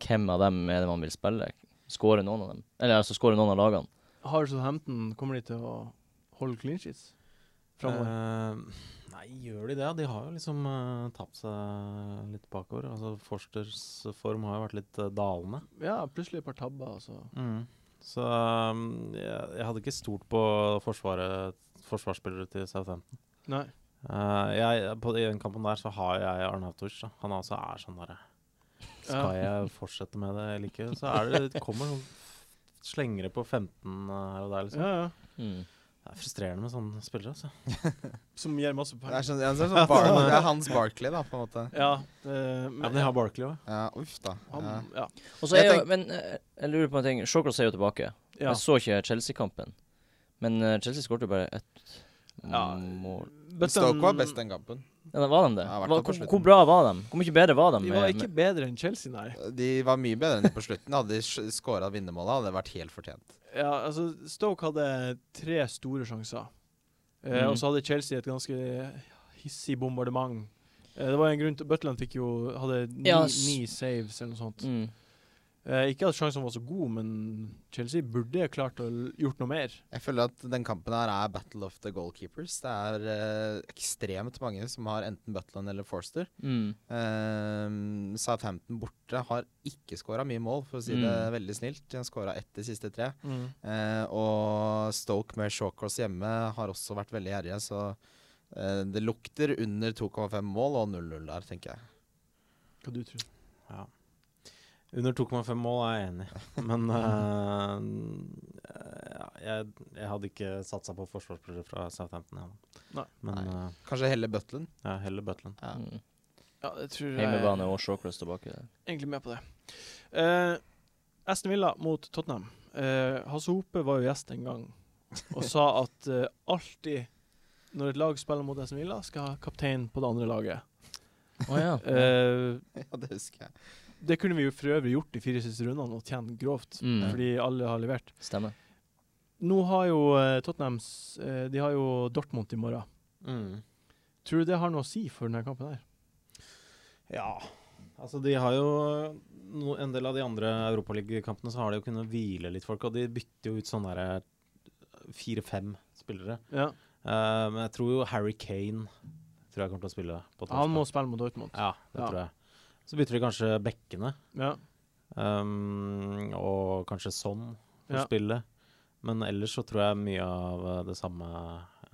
Hvem av dem er det man vil spille? Skåre noen av dem? Eller altså skåre noen av lagene? Har Southampton Kommer de til å holde clean sheets framover? Eh, nei, gjør de det? De har jo liksom eh, tapt seg litt bakover. Altså Forsters form har jo vært litt eh, dalende. Ja, plutselig et par tabber, altså. Mm. Så um, jeg, jeg hadde ikke stolt på forsvaret, forsvarsspillere til Southampton. Nei. Eh, jeg, på, I den kampen der så har jeg Arnautovic. da. Han altså er sånn derre Skal Ja. jeg fortsette med det eller ikke? Så er det, det kommer noen slengere på 15 her og der, liksom. Ja, ja. Mm. Det er frustrerende med sånne spillere, altså. Som gir masse Det er, poeng. sånn, det, er sånn, sånn Bar det er Hans Barkley, da, på en måte. Ja, det, Ja, men jeg har Barkley òg. Ja, uff, da. Ja. han, ja. Og så Jeg er jo, men eh, jeg lurer på en ting. Shawcross er jo tilbake. ja. Jeg så ikke Chelsea-kampen. Men eh, Chelsea skåret jo bare ett Ja. mål. Button- Stoke var best den kampen. Ja, da var de det? Ja, i hvert Hva, fall på hvor, slutten. hvor bra var de? Hvor mye bedre var de? De med- var med- ikke bedre enn Chelsea, nei. De var mye bedre enn de på slutten. Hadde de skåra vinnermålet, hadde det vært helt fortjent. Ja, altså Stoke hadde tre store sjanser. Eh, Mhm. Og så hadde Chelsea et ganske hissig bombardement. Eh, det var en grunn til Butland fikk jo hadde ni, Ja, s- ni saves eller noe sånt. Mm. Eh, ikke at sjansen var så god, men Chelsea burde klart å l- gjort noe mer. Jeg føler at den kampen her er battle of the goalkeepers. Det er eh, ekstremt mange som har enten Butland eller Forster. Mm. Ehm, Southampton borte har ikke skåra mye mål, for å si det Mm. veldig snilt. De har skåra ett de siste tre. Mm. Eh, og Stoke med Shawcross hjemme har også vært veldig gjerrige, så eh, det lukter under 2,5 mål og 0-0 der, tenker jeg. Hva du tror Ja. Under 2,5 mål er jeg enig, i. men eh, eh, jeg, jeg hadde ikke satsa på forsvarsspillere fra Southampton. Jeg. Nei. Men Nei. eh, Kanskje heller Butland. ja, heller Butland. Ja. Mm. Ja, jeg tror jeg er Heimebane og Shawcross tilbake. der. egentlig med på det. Eh, Aston Villa mot Tottenham. Eh, Hasse Hope var jo gjest en gang og sa at eh, alltid når et lag spiller mot Aston Villa, skal ha kaptein på det andre laget. Å (laughs) ja. Eh, (laughs) ja, det husker jeg. det kunne vi jo for øvrig gjort de fire siste rundene og tjent grovt, Mm. fordi alle har levert. Stemmer. Nå har jo eh, Tottenhams eh, De har jo Dortmund i morgen. Tror du det har noe å si for denne kampen her? Ja. Altså, de har jo no, En del av de andre europaligakampene så har de jo kunnet hvile litt folk, og de bytter jo ut sånne der eh, fire-fem spillere. Ja. Eh, men jeg tror jo Harry Kane tror jeg kommer til å spille på torsdag. Han må spille mot Dortmund. Ja, det Ja. tror jeg. Så bytter de kanskje bekkene. Ja. Um, og kanskje sånn for Ja. spillet. Men ellers så tror jeg mye av eh, det samme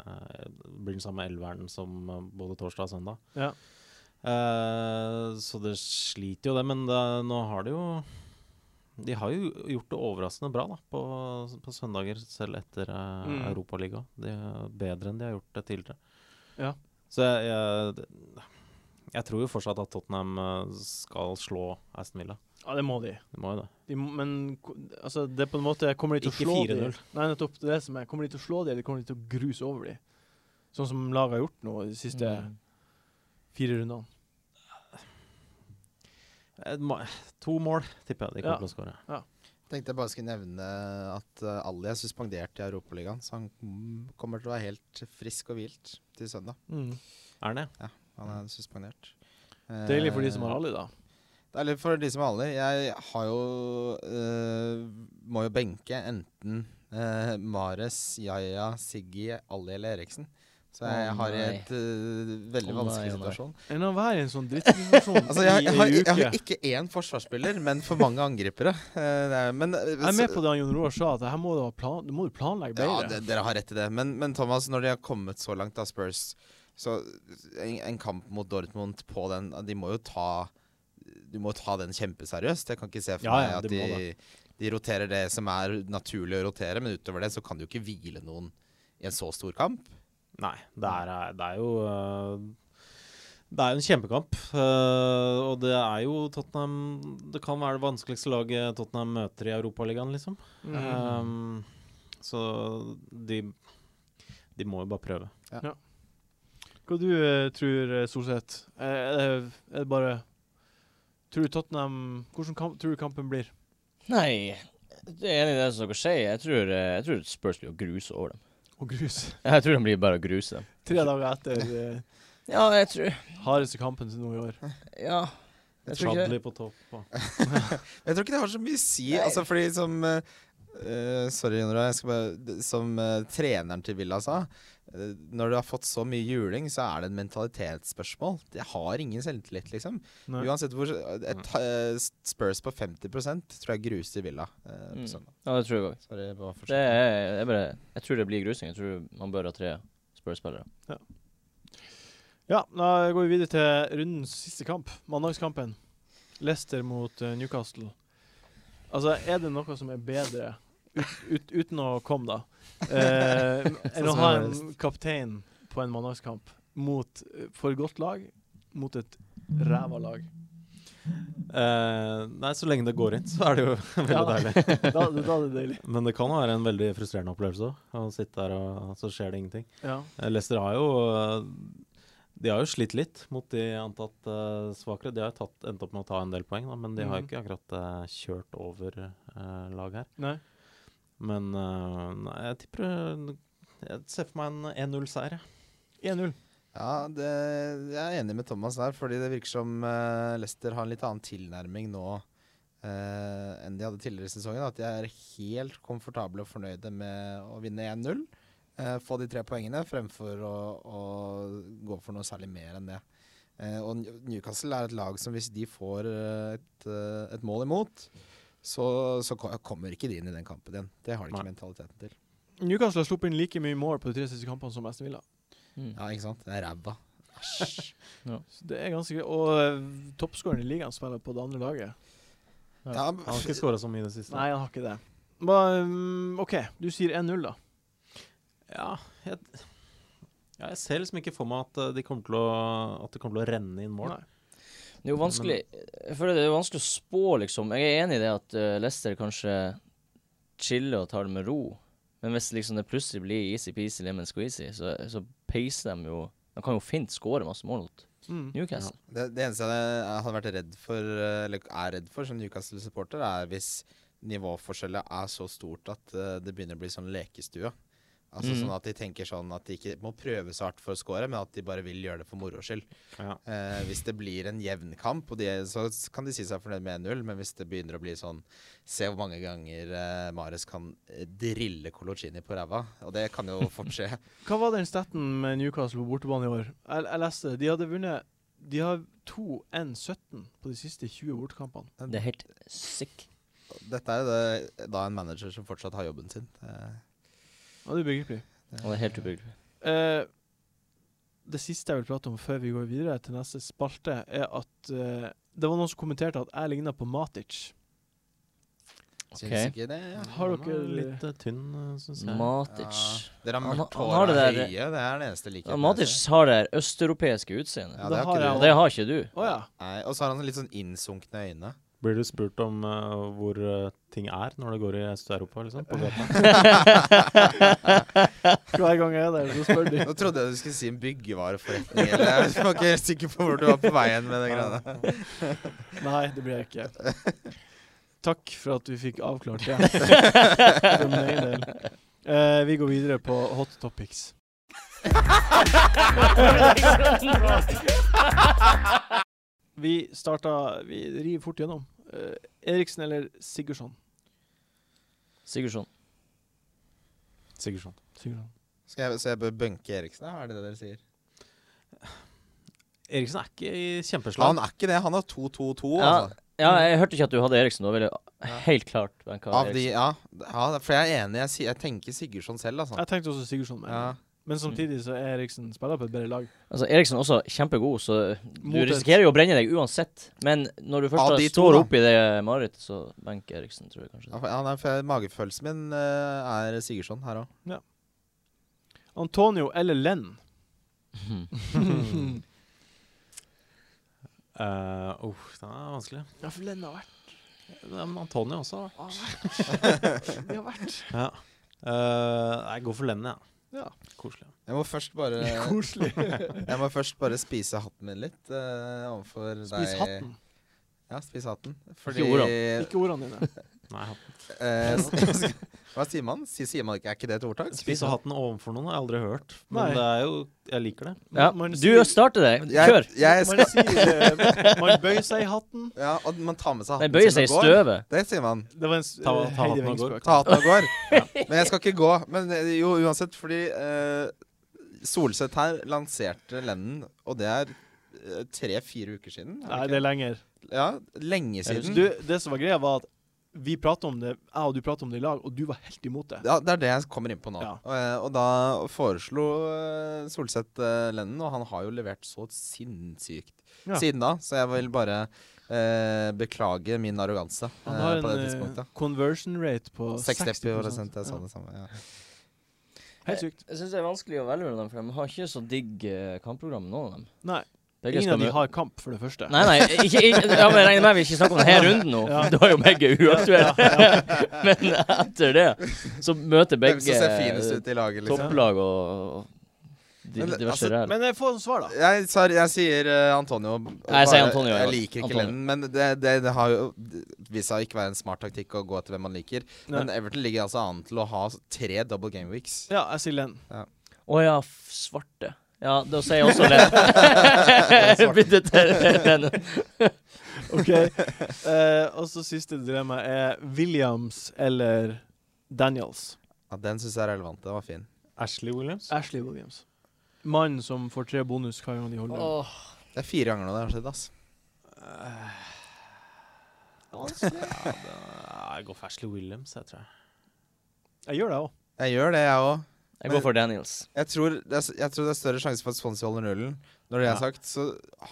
eh, blir den samme elveren som eh, både torsdag og søndag. Ja. Eh, så det sliter jo, det. Men det, nå har de jo De har jo gjort det overraskende bra da, på, på søndager, selv etter uh, Mm. Europaligaen. De er Bedre enn de har gjort det tidligere. Ja. Så jeg, jeg, jeg tror jo fortsatt at Tottenham eh, skal slå Aston Villa. ja, det må de. De må jo det. De, må- men ko- altså, det er på en måte Kommer de til Ikke å slå de? 4-0. Nei, nettopp det er det som er. Kommer de til å slå de, eller kommer de til å gruse over de? Sånn som laget har gjort nå de siste Mm. fire rundene. Et ma- Eh, To mål tipper jeg de Ja. kommer til å skåre. Tenkte jeg bare skulle nevne at eh, Ali er suspendert i Europaligaen, så han kom- kommer til å være helt frisk og hvilt til søndag. Er det? Han Mm. er suspendert. Deilig for de som Eh, har Ali, da. Det er litt for de som er alle. Jeg har jo øh, Må jo benke enten øh, Mares, Yaya, Siggy, Ali eller Eriksen. Så Å, jeg har nei. et øh, veldig Å, nei, vanskelig å, nei. situasjon. En av hver i en sånn drittsituasjon Eh. (laughs) Altså, jeg, jeg, har, i ei jeg uke. har ikke én forsvarsspiller, men for mange angripere. Eh, det er- men øh, Jeg er så- med på det han Jon Roar sa, at det her må du, ha plan, du må jo planlegge Ja, bedre. det, dere har rett i det. Men, men Thomas, når de har kommet så langt, da, Spurs Så en, en kamp mot Dortmund på den De må jo ta Du må ta den kjempeseriøst. Jeg kan ikke se for Ja, ja, meg at de må de, de roterer det som er naturlig å rotere, men utover det så kan du jo ikke hvile noen i en så stor kamp. Nei, det er, det er jo øh, Det er jo en kjempekamp. øh, og det er jo Tottenham Det kan være det vanskeligste laget Tottenham møter i Europaligaen, liksom. Mhm. Um, så de De må jo bare prøve. Hva du eh, tror eh, Solseth? Eh, Er det, er det bare Tror du Tottenham Hvordan kamp, tror du kampen blir? Nei, jeg er enig i det som dere sier. Jeg tror, eh, jeg tror Spurs blir å gruse over dem. (laughs) Og grus. Jeg tror de blir bare å gruse dem. Tre dager etter eh, Ja, jeg tror hardeste kampen til nå i (laughs) år. Ja. Jeg tror ikke det. Chadley på topp. Og. Jeg tror ikke det har så mye å si. Nei. Altså, fordi som eh, eh, Sorry, Nora. Jeg skal bare, d- som eh, treneren til Villa sa eh, Når du har fått så mye juling, så er det en mentalitetsspørsmål. Det har ingen selvtillit, liksom. Nei. Uansett hvor et, eh, Spurs på 50 tror jeg gruser Villa eh, på Mm. søndag. Ja, det tror jeg òg. Sorry, bare fortsett. Det er, jeg, bare, jeg tror det blir grusing. Jeg tror man bør ha tre Spurs-spillere. Ja, da går vi videre til rundens siste kamp, mandagskampen. Leicester mot eh, Newcastle. Altså, er det noe som er bedre, ut, ut, uten å komme, da, (laughs) eh, enn å som ha jeg en kaptein på en mandagskamp mot, eh, for et godt lag mot et ræva lag? Eh, nei, så lenge det går inn, så er det jo (laughs) veldig Ja. deilig. Da, (laughs) da er det deilig. Men det kan være en veldig frustrerende opplevelse òg. Å sitte der, og så skjer det ingenting. Ja. Eh, Leicester har jo eh, De har jo slitt litt mot de antatt eh, svakere. De har jo tatt, endt opp med å ta en del poeng, da, men de har jo Mhm. ikke akkurat eh, kjørt over eh, lag her. Nei. Men eh, nei, jeg tipper eh, Jeg ser for meg en 1-0-seier. jeg. 1-0. Ja, det, jeg er enig med Thomas der, fordi det virker som eh, Leicester har en litt annen tilnærming nå eh, enn de hadde tidligere i sesongen. At de er helt komfortable og fornøyde med å vinne 1-0, eh, få de tre poengene, fremfor å, å gå for noe særlig mer enn det. Eh, og New- Newcastle er et lag som hvis de får eh, et, eh, et mål imot, så, så ko- kommer ikke de inn i den kampen igjen. Det har de ikke Nei. mentaliteten til. Newcastle har sluppet inn like mye mål på de tre siste kampene som Aston Villa. Mm. Ja, ikke sant? Det er ræva. Æsj. Så det er ganske greit. Og eh, toppskåreren i ligaen spiller på det andre laget. Ja, Han har ikke skåra så mye i det siste. Nei, han har ikke det. Men, mm, OK, du sier 1-0, da. Ja, jeg, ja, jeg ser liksom ikke for meg at eh, de kommer til å, at det kommer til å renne inn mål. Nei. Det er jo vanskelig Jeg føler det er jo vanskelig å spå, liksom. Jeg er enig i det at eh, Leicester kanskje chiller og tar det med ro. Men hvis liksom det plutselig blir easy-peasy lemon squeezy, så, så peiser de jo De kan jo fint skåre masse mål mot Mm. Newcastle. Det, det eneste jeg jeg hadde vært redd for, eh, eller er redd for som Newcastle-supporter, er hvis nivåforskjellet er så stort at eh, det begynner å bli sånn lekestue. Altså Mhm. Sånn at de tenker sånn at de ikke må prøve så hardt for å score, men at de bare vil gjøre det for moro skyld. Ja. Eh, hvis det blir en jevn kamp, og de, så s- kan de si seg fornøyd med 1-0, men hvis det begynner å bli sånn Se hvor mange ganger eh, Mares kan eh, drille Colocini på ræva. Og det kan jo fort skje. Hva var den staten med Newcastle på bortebane i år? Jeg, jeg leste det. De hadde vunnet De har 2-1-17 på de siste 20 bortekampene. (laughs) Det er helt sick. Dette er jo det, da en manager som fortsatt har jobben sin. Eh, Ja, det er ubegripelig. Og det er helt ubrukelig. Eh, det siste jeg vil prate om før vi går videre til neste spalte, er at eh, det var noen som kommenterte at jeg ligna på Matic. Syns Ok. ikke det. ja. Har Han er dere litt eh, tynn, syns jeg. Matic Ja. Dere har Han- mørkt han hår har og det høye. der- Det er den eneste likheten. ja, jeg Matic ser. har det østeuropeiske utseendet. Ja, Da det har har jeg ikke Og du. det har ikke du. Å ja. Nei, og så har han litt sånn innsunkne (laughs) øyne. Blir du spurt om eh, hvor eh, ting er når det går i Øst-Europa, liksom? På gata? Hver gang jeg er der, så spør de. Nå trodde jeg du skulle si en byggevareforretning. Eller jeg var ikke helt sikker på hvor du var på veien med det greia der. (laughs) (laughs) Nei, det blir jeg ikke. (laughs) Takk for at vi fikk avklart (laughs) det. For min del. Eh, vi går videre på hot topics. Vi starta Vi river fort gjennom. Eh, Eriksen eller Sigurdsson? Sigurdsson. Sigurdsson. Sigurdsson. Så jeg, så jeg bør bunke Eriksen, ja, er det det dere sier? Eriksen er ikke i kjempeslag. Han er ikke det. Han har 2-2-2, Ja, altså. Ja, jeg hørte ikke at du hadde Eriksen. Da ville jeg helt klart benka Av de, Eriksen. ja. ja. For jeg er enig. Jeg, sier- jeg tenker Sigurdsson selv, altså. Jeg tenkte også Sigurdsson, men, Ja. men samtidig så er Eriksen spiller på et bedre lag. Altså, Eriksen er også kjempegod, så du Mot et- risikerer jo å brenne deg uansett. Men når du først Av da de to, står da. oppi det marerittet, så benk Eriksen, tror jeg kanskje. Ja, det. for- ja, nei, for jeg- Magefølelsen min eh, er Sigurdsson her òg. Antonio eller Lenn? (laughs) Mhm. Eh, uff, den er vanskelig. Ja, for Lenn har vært Ja, men Antonio også. da. (laughs) Vi har vært Ja. Eh, jeg går for Lenny, jeg. Ja. Koselig. Jeg må først bare (laughs) koselig. (laughs) Jeg må først bare spise hatten min litt eh, overfor deg. Spis hatten. Ja, spis hatten. Ikke ordene dine. Nei, hatten. (laughs) eh, (laughs) s- Hva sier man? Sier, sier man ikke, Er ikke det et ordtak? Spise hatten overfor noen har jeg aldri hørt, men Nei. det er jo Jeg liker det. Ja, Man du sier- starter det. Jeg, Kjør. jeg Man skal, sier eh, Man bøyer seg i hatten. (laughs) ja, og man tar med seg hatten Den bøyer sin seg og i går. støvet. Det sier man. Det var en s- Ta- ta eh, Heidi hatten og gå. Weng-spøk. Ta hatten og (laughs) går. Men jeg skal ikke gå. Men eh, jo, uansett, fordi eh, Solseth her lanserte Lennon, og det er eh, tre-fire uker siden. er Nei, det det er lenger. ikke? Ja, lenge siden. Du, det som var greia, var at vi pratet om det, jeg og du pratet om det i lag, og du var helt imot det. Ja, det er det jeg kommer inn på nå. Ja. Og, eh, og da foreslo eh, Solseth eh, Lennon, og han har jo levert så sinnssykt Ja. siden da, så jeg vil bare eh, beklage min arroganse eh, Han har på det en eh, tidspunktet. conversion rate på 60 60 prosent, jeg sa Ja. det sånn. samme. Ja. Helt sykt. Jeg syns det er vanskelig å velge mellom dem, for de har ikke så digg eh, kampprogram, noen av dem. Nei, Begge ingen skal av de mø- har kamp, for det første. Nei, nei, ikke, ikke, ja, men jeg regner med vi ikke snakker om denne runden nå. Ja. Da er jo begge uaktuelle. (laughs) Men etter det så møter Hvem begge som ser finest ut i laget, liksom. topplag og, og di- Men, diverse altså, ræl. Men eh, få noen svar, da. Jeg, sorry, jeg sier eh, Antonio. Nei, jeg sier bare- Antonio, Jeg ja. liker ikke Antonio. Lennon, men det, det, det har jo det vist seg å ikke være en smart taktikk å gå etter hvem man liker. Men Everton ligger altså an til å ha tre double game weeks. Ja, jeg sier Len. Å ja, f- svarte. Ja, da sier jeg (laughs) også Len. (laughs) Bytte til Len. (laughs) OK. (laughs) Eh, og så siste dilemma er Williams eller Daniels. Ja, den syns jeg er relevant. Den var fin. Ashley Williams? Ashley Williams. Mannen som får tre bonus hver gang de holder. Oh. Åh, Det er fire ganger nå det har skjedd, ass. Eh, Nei, jeg går for Ashley Williams, jeg tror jeg. Jeg gjør det òg. Jeg gjør det, jeg òg. Jeg går for Daniels. Jeg tror, det er, s- jeg tror det er større sjanse for at Swansea holder nullen. Når det er Ja. sagt, så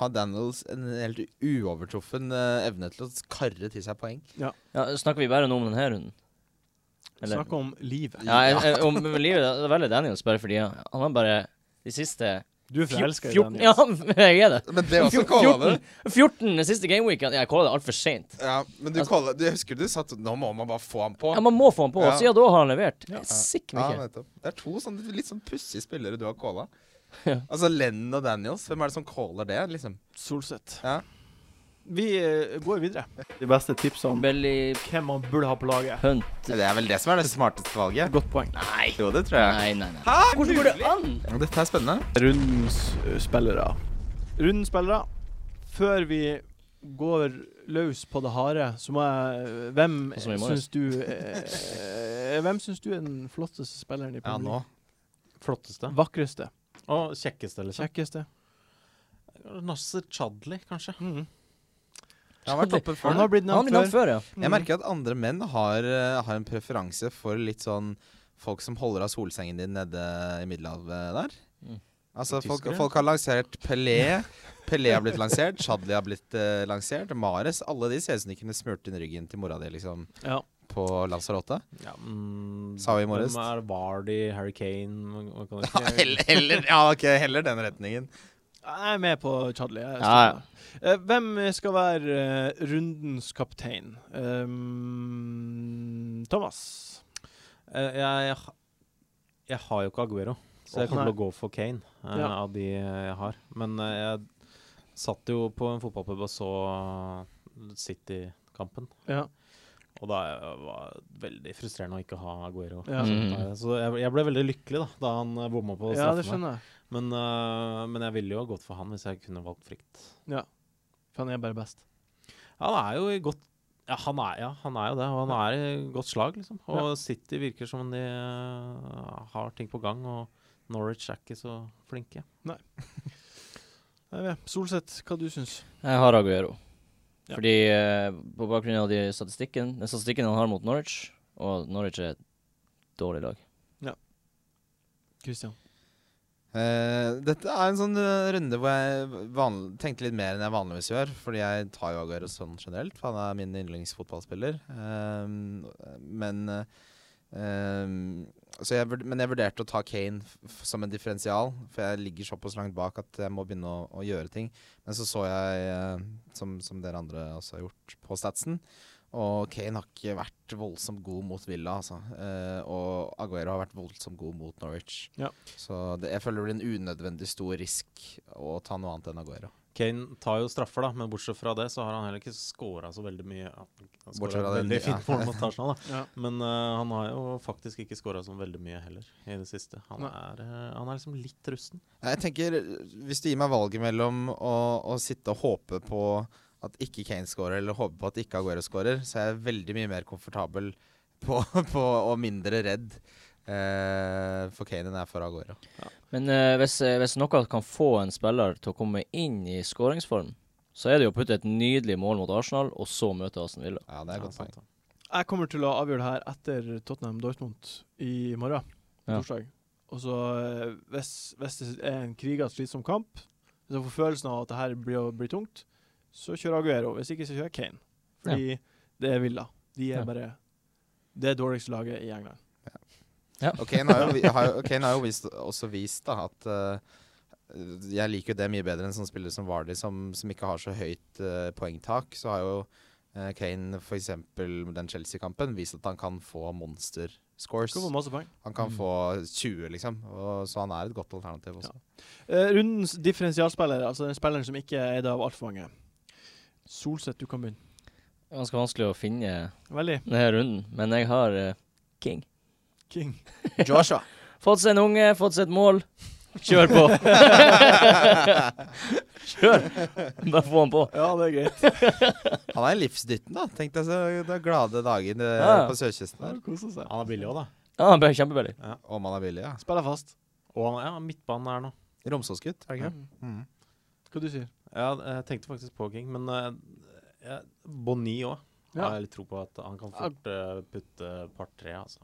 har Daniels en helt uovertruffen eh, evne til å karre til seg poeng. Ja, snakker vi bare nå om denne runden? Eller- Snakk om livet. Ja, jeg, jeg, om livet da velger Daniels bare fordi han, han har bare de siste Du er forelska i 14 Daniels. Ja, (laughs) jeg er det. Men (laughs) det også 14, 14 den siste gameweekend. Jeg kåla det altfor seint. Ja, men du, Altså- kåla- du husker du satt Nå må man bare få ham på. Ja, man må få han på. Ja. Siden da har han levert. Ja. Sikk Ja, mye. nettopp. Det er to sånne litt sånn pussige spillere du har calla. Ja. Altså Lennon og Daniels, hvem er det som caller det, liksom? Solseth. Ja. Vi eh, går videre. De beste tipsene om Belly hvem man burde ha på laget. punt. Det er vel det som er det smarteste valget. Godt poeng. Nei. Jo, det tror jeg. Nei, nei, nei. Hvordan går det an? Ja, Dette er spennende. Rundens eh, spillere. Rundens spillere. Før vi går løs på det harde, så må jeg Hvem Sånn som i morges. syns du eh, Hvem syns du er den flotteste spilleren i Ja, Premier nå. League? Flotteste. Vakreste. Og kjekkeste, liksom. Kjekkeste. Nasser Chadli, kanskje. Mhm. Jeg har vært oppe Han før. har blitt Han nevnt blir nevnt før. før, ja. Mm. Jeg merker at andre menn har, eh, har en preferanse for litt sånn folk som holder av solsengen din nede i Middelhavet der. Mm. Altså, folk, Tyskere. folk har lansert Pelé. Pelé har blitt lansert, Chadli har blitt eh, lansert, Mares Alle de ser ut som de kunne smurt inn ryggen til mora di, liksom, Ja. på Lanzarote. Ja, mm, Sa vi i morges. hvem Er Vardy, Harry Kane man- man kan (laughs) Ja, ikke- heller, heller, ja, ok, heller den retningen. Jeg er med på Chadli. Jeg Ja, ja. støtter det. Eh, Hvem skal være eh, rundens kaptein? Um, Thomas. Eh, jeg, jeg har jo ikke Aguero, så jeg Åh, kommer nei. til å gå for Kane eh, Ja. av de jeg har. Men eh, jeg satt jo på en fotballpub og så City-kampen. Ja. Og da eh, var det veldig frustrerende å ikke ha Aguero. Ja. Mhm. Så jeg, jeg ble veldig lykkelig da Da han eh, bomma på ja, det straffen. skjønner jeg. der. men, eh, men jeg ville jo ha gått for han hvis jeg kunne valgt fritt. For han er bare best. Han er jo i godt ja han, er, ja, han er jo det. Og han er i godt slag, liksom. Og Ja. City virker som om de eh, har ting på gang. Og Norwich er ikke så flinke. Jeg er med. Solseth, hva du syns Jeg har Aguero. Ja. Fordi eh, på bakgrunn av de statistikken, den statistikken han har mot Norwich, og Norwich er et dårlig lag. Christian? Eh, dette er en sånn eh, runde hvor jeg vanl- tenkte litt mer enn jeg vanligvis gjør. Fordi jeg tar jo Aguero sånn generelt, for han er min yndlingsfotballspiller. Eh, men eh, eh, så jeg, vurd- Men jeg vurderte å ta Kane f f som en differensial, for jeg ligger såpass langt bak at jeg må begynne å, å gjøre ting. Men så så jeg, eh, som, som dere andre også har gjort, på statsen. Og Kane har ikke vært voldsomt god mot Villa, altså. Eh, og Aguero har vært voldsomt god mot Norwich. Ja. Så det, jeg føler det blir en unødvendig stor risk å ta noe annet enn Aguero. Kane tar jo straffer, da, men bortsett fra det så har han heller ikke scora så veldig mye. Ja, Han Bortsett scora fra den- veldig ja. fint mål mot (laughs) Arsenal, da. Ja. Men eh, han har jo faktisk ikke scora så veldig mye heller i det siste. Han Nei. er, eh, han er liksom litt rusten. Jeg tenker, Hvis du gir meg valget mellom å, å sitte og håpe på at ikke Kane scorer, eller håpe på at ikke Aguero scorer, så er jeg veldig mye mer komfortabel på, (laughs) på, og mindre redd eh, for Kane enn jeg er for Aguero. Men eh, hvis, eh, hvis noe kan få en spiller til å komme inn i skåringsform, så er det jo å putte et nydelig mål mot Arsenal, og så møte Aston Villa. Ja, det er Ja, et godt sant, poeng. da. Jeg kommer til å avgjøre det her etter Tottenham Dortmund i morgen. Ja. Torsdag. Og så eh, hvis, hvis det er en kriga slitsom kamp, hvis jeg får følelsen av at det her blir, blir tungt, så kjører Aguero. Hvis ikke, så kjører jeg Kane. Fordi det er Villa. De er Ja. bare det dårligste laget i England. Og Kane har jo, vi- har, jo- Kane har jo vist, også vist da, at eh, jeg liker jo det mye bedre enn sånne spillere som Vardy, som, som ikke har så høyt eh, poengtak. Så har jo Eh, Kane, for eksempel den Chelsea-kampen, viste at han kan få monster scores. Skal få masse poeng. Han kan Mm. få 20, liksom. Og, så han er et godt alternativ også. Eh, rundens differensialspiller, altså den spilleren som ikke er eid av altfor mange. Solseth, du kan begynne. Ganske vanskelig å finne Veldig. denne runden, men jeg har eh, King. King. Joshua. Fått seg en unge, fått seg et mål. Kjør på! (laughs) Kjør! Bare få han på. (laughs) Ja, det er greit. Han er livsdytten, da. Tenk deg så det er glade dagen eh, Ja. på sørkysten her. Koser seg. Han er billig òg, da. Ja, han ble kjempebillig. Om han er billig, ja. Spiller fast. Og han, ja, midtbanen er nå. Romsås-gutt, er det ikke? Mm. Hva du sier Ja, jeg tenkte faktisk på King, men eh, ja, Bonny òg. Ja. Har jeg litt tro på at han kan fort eh, putte par-tre, altså.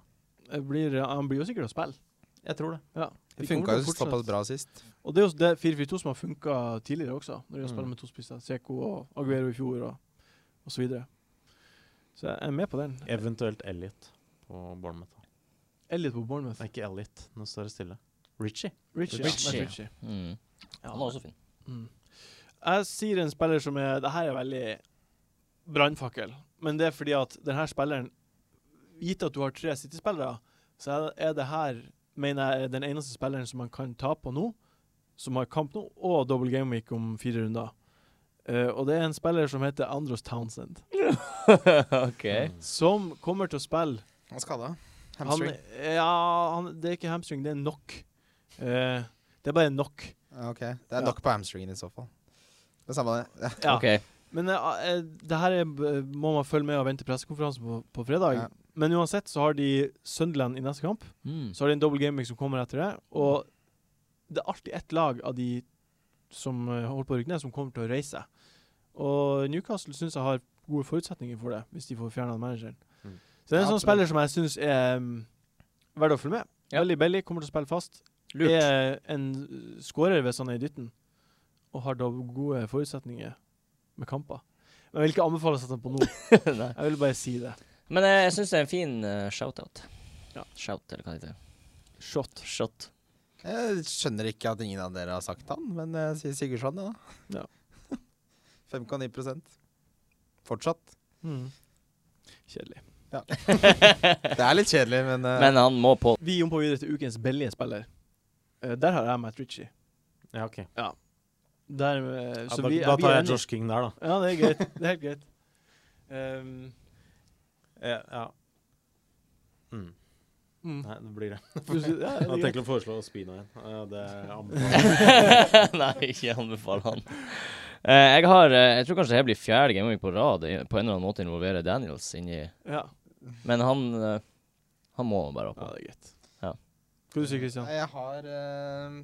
Det blir, eh, han blir jo sikkert å spille. Jeg tror det. Ja. Det Vi kommer funka til å jo fortsette. såpass bra sist. Og det er jo det 4-4-2 som har funka tidligere også, når de har spilt Mm. med to spisser. Seko og Aguero i fjor og, og så videre. Så jeg er med på den. Eventuelt Elliot på Bournemouth. da. Elliot på Bournemouth. Nei, ikke Elliot, nå står det stille. Richie. Richie. Richie. Ja. Richie. Mm. Ja, Han er også fin. Mm. Jeg sier en spiller som er Det her er veldig brannfakkel, men det er fordi at denne spilleren Gitt at du har tre City-spillere, så er- er det her mener jeg er den eneste spilleren som man kan ta på nå, som har kamp nå, og double game week om fire runder. Eh, og det er en spiller som heter Andros Townsend, OK. som kommer til å spille Han skada. han, Ja, han, det er ikke hamstring, det er nok. Eh, det er bare nok. Ok, Det er Ja. nok på hamstringen i så fall. Det er samme det. Ja. Ja. ok. Men eh, eh, det her er, b- må man følge med og vente pressekonferansen på, på fredag. Ja. Men uansett så har de Sunderland i neste kamp. Mm. Så har de en double gaming som kommer etter det. Og det er alltid ett lag av de som eh, holder på å rykke ned, som kommer til å reise. Og Newcastle syns jeg har gode forutsetninger for det, hvis de får fjerna manageren. Mm. Så det er en Ja, sånn spiller som jeg syns er mm, verdt å følge med. Ja. Veldig billig, kommer til å spille fast. Lurt. Er en skårer hvis han er i dytten, og har da gode forutsetninger med kamper. Men jeg vil ikke anbefale å sette den på nå. (laughs) Nei. Jeg vil bare si det. Men eh, jeg syns det er en fin eh, shout-out. Ja. Shout, eller hva det heter. Shot. Shot. Jeg skjønner ikke at ingen av dere har sagt han, men jeg sier Sigurdsson, ja, da. (laughs) Ja. 5,9 Fortsatt. Mm. Kjedelig. Det er litt kjedelig, men, eh, Men han må på. Vi jumper videre til ukens billige spiller. Eh, der har jeg Matt Ritchie. Ja, ok. Der, eh, Ja, så da, vi, da vi tar er jeg enige. Josh King der, da. Ja, det er greit. Det er helt greit. Ehm, Ja. ja. Mm. (laughs) mm. Nei, det blir det. Du- ja, (laughs) det er Jeg greit. tenker å foreslå Spina igjen. Eh, Det anbefaler jeg. (laughs) Nei, ikke anbefale han. Eh, jeg har eh, Jeg tror kanskje det her blir fjerde gameweek på rad i- på en eller annen måte involverer Daniels inni Ja. Men han eh, Han må bare opp. ja, det er greit. Ja. Hva du sier du, Christian? Nei, Jeg har eh,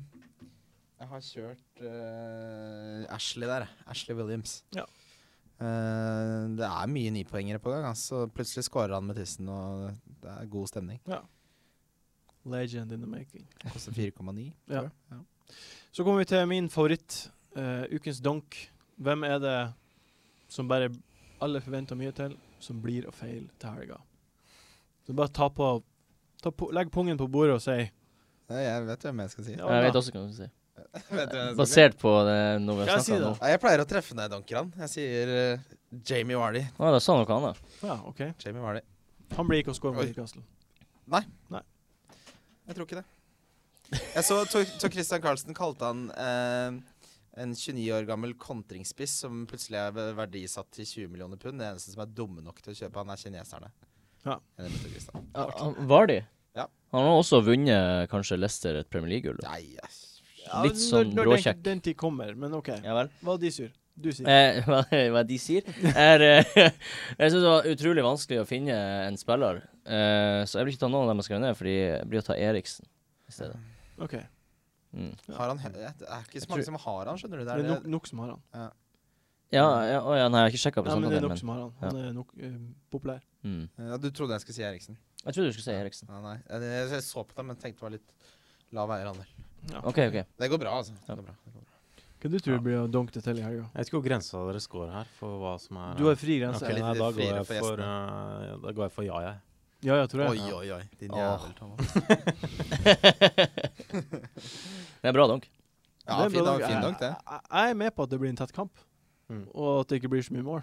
Jeg har kjørt eh, Ashley der. Ashley Williams. Ja. Eh, det er mye nipoengere på gang. Altså. Plutselig scorer han med tissen, og det er god stemning. Legend in the making. Koster 4,9. Ja. tror jeg. Ja. Så kommer vi til min favoritt, eh, ukens donk. Hvem er det som bare alle forventer mye til, som blir å feile til helga? Så bare ta på, ta på Legg pungen på bordet og si Nei, Jeg vet hvem jeg skal si. Ja. Jeg vet også hva du skal si. (laughs) Vet du hvem jeg skal si? Basert på det noe vi Ja, har si snakka om nå. det. Nei, Jeg pleier å treffe når jeg dunker han. Jeg sier eh, Jamie Wardy. Å, Ah, da sa han noe annet. Ja, OK. Jamie Wardy. Han blir ikke å score mot Oi. Newcastle. Jeg tror ikke det. Jeg så, så, så Christian Carlsen kalte han eh, en 29 år gammel kontringsspiss som plutselig er ve- verdisatt til 20 millioner pund. Det eneste som er dumme nok til å kjøpe han, er kineserne. Ja. Jeg nevnte Christian. Var de? Ja. Han har også vunnet kanskje Leicester et Premier League-gull. da. Nei, æsj. Litt sånn når, når bråkjekk. den, den tid kommer, men OK. Ja vel. Hva de sur? Du sier Eh, (laughs) hva, hva de sier, er eh, (laughs) Jeg syns det var utrolig vanskelig å finne en spiller, eh, så jeg vil ikke ta noen av dem jeg skrev ned, fordi jeg blir å ta Eriksen i stedet. OK. Mm. Har han he- Det er ikke så tror- mange som har han, skjønner du. Det Det er er nok, det. nok som har han. Ja, ja, å ja, nei, jeg har ikke sjekka Nei, men det er prosentandelen, nok men som har han. Han er nok eh, populær. mm. Ja, du trodde jeg skulle si Eriksen. Jeg trodde du skulle si Eriksen. Ja, nei. Jeg, jeg, jeg så på deg, men tenkte det var litt lav eierandel. Ja. OK, OK. Det går bra, altså. Ja. Det går bra. Det går bra. Hva du tror du blir å donke det til i helga? Jeg vet ikke hvor grensa dere scorer her, for hva som er Du har fri altså, grense. Ok, litt nei, da, går friere jeg for for, eh, da går jeg for ja, jeg. Ja, ja, tror jeg. Oi, oi, oi. Din Åh. jævel, Thomas. (laughs) Det er bra donk. Ja, Det er fin, bra nok- fin nok, det. Jeg, jeg er med på at det blir en tett kamp, Mm. og at det ikke blir så mye mål.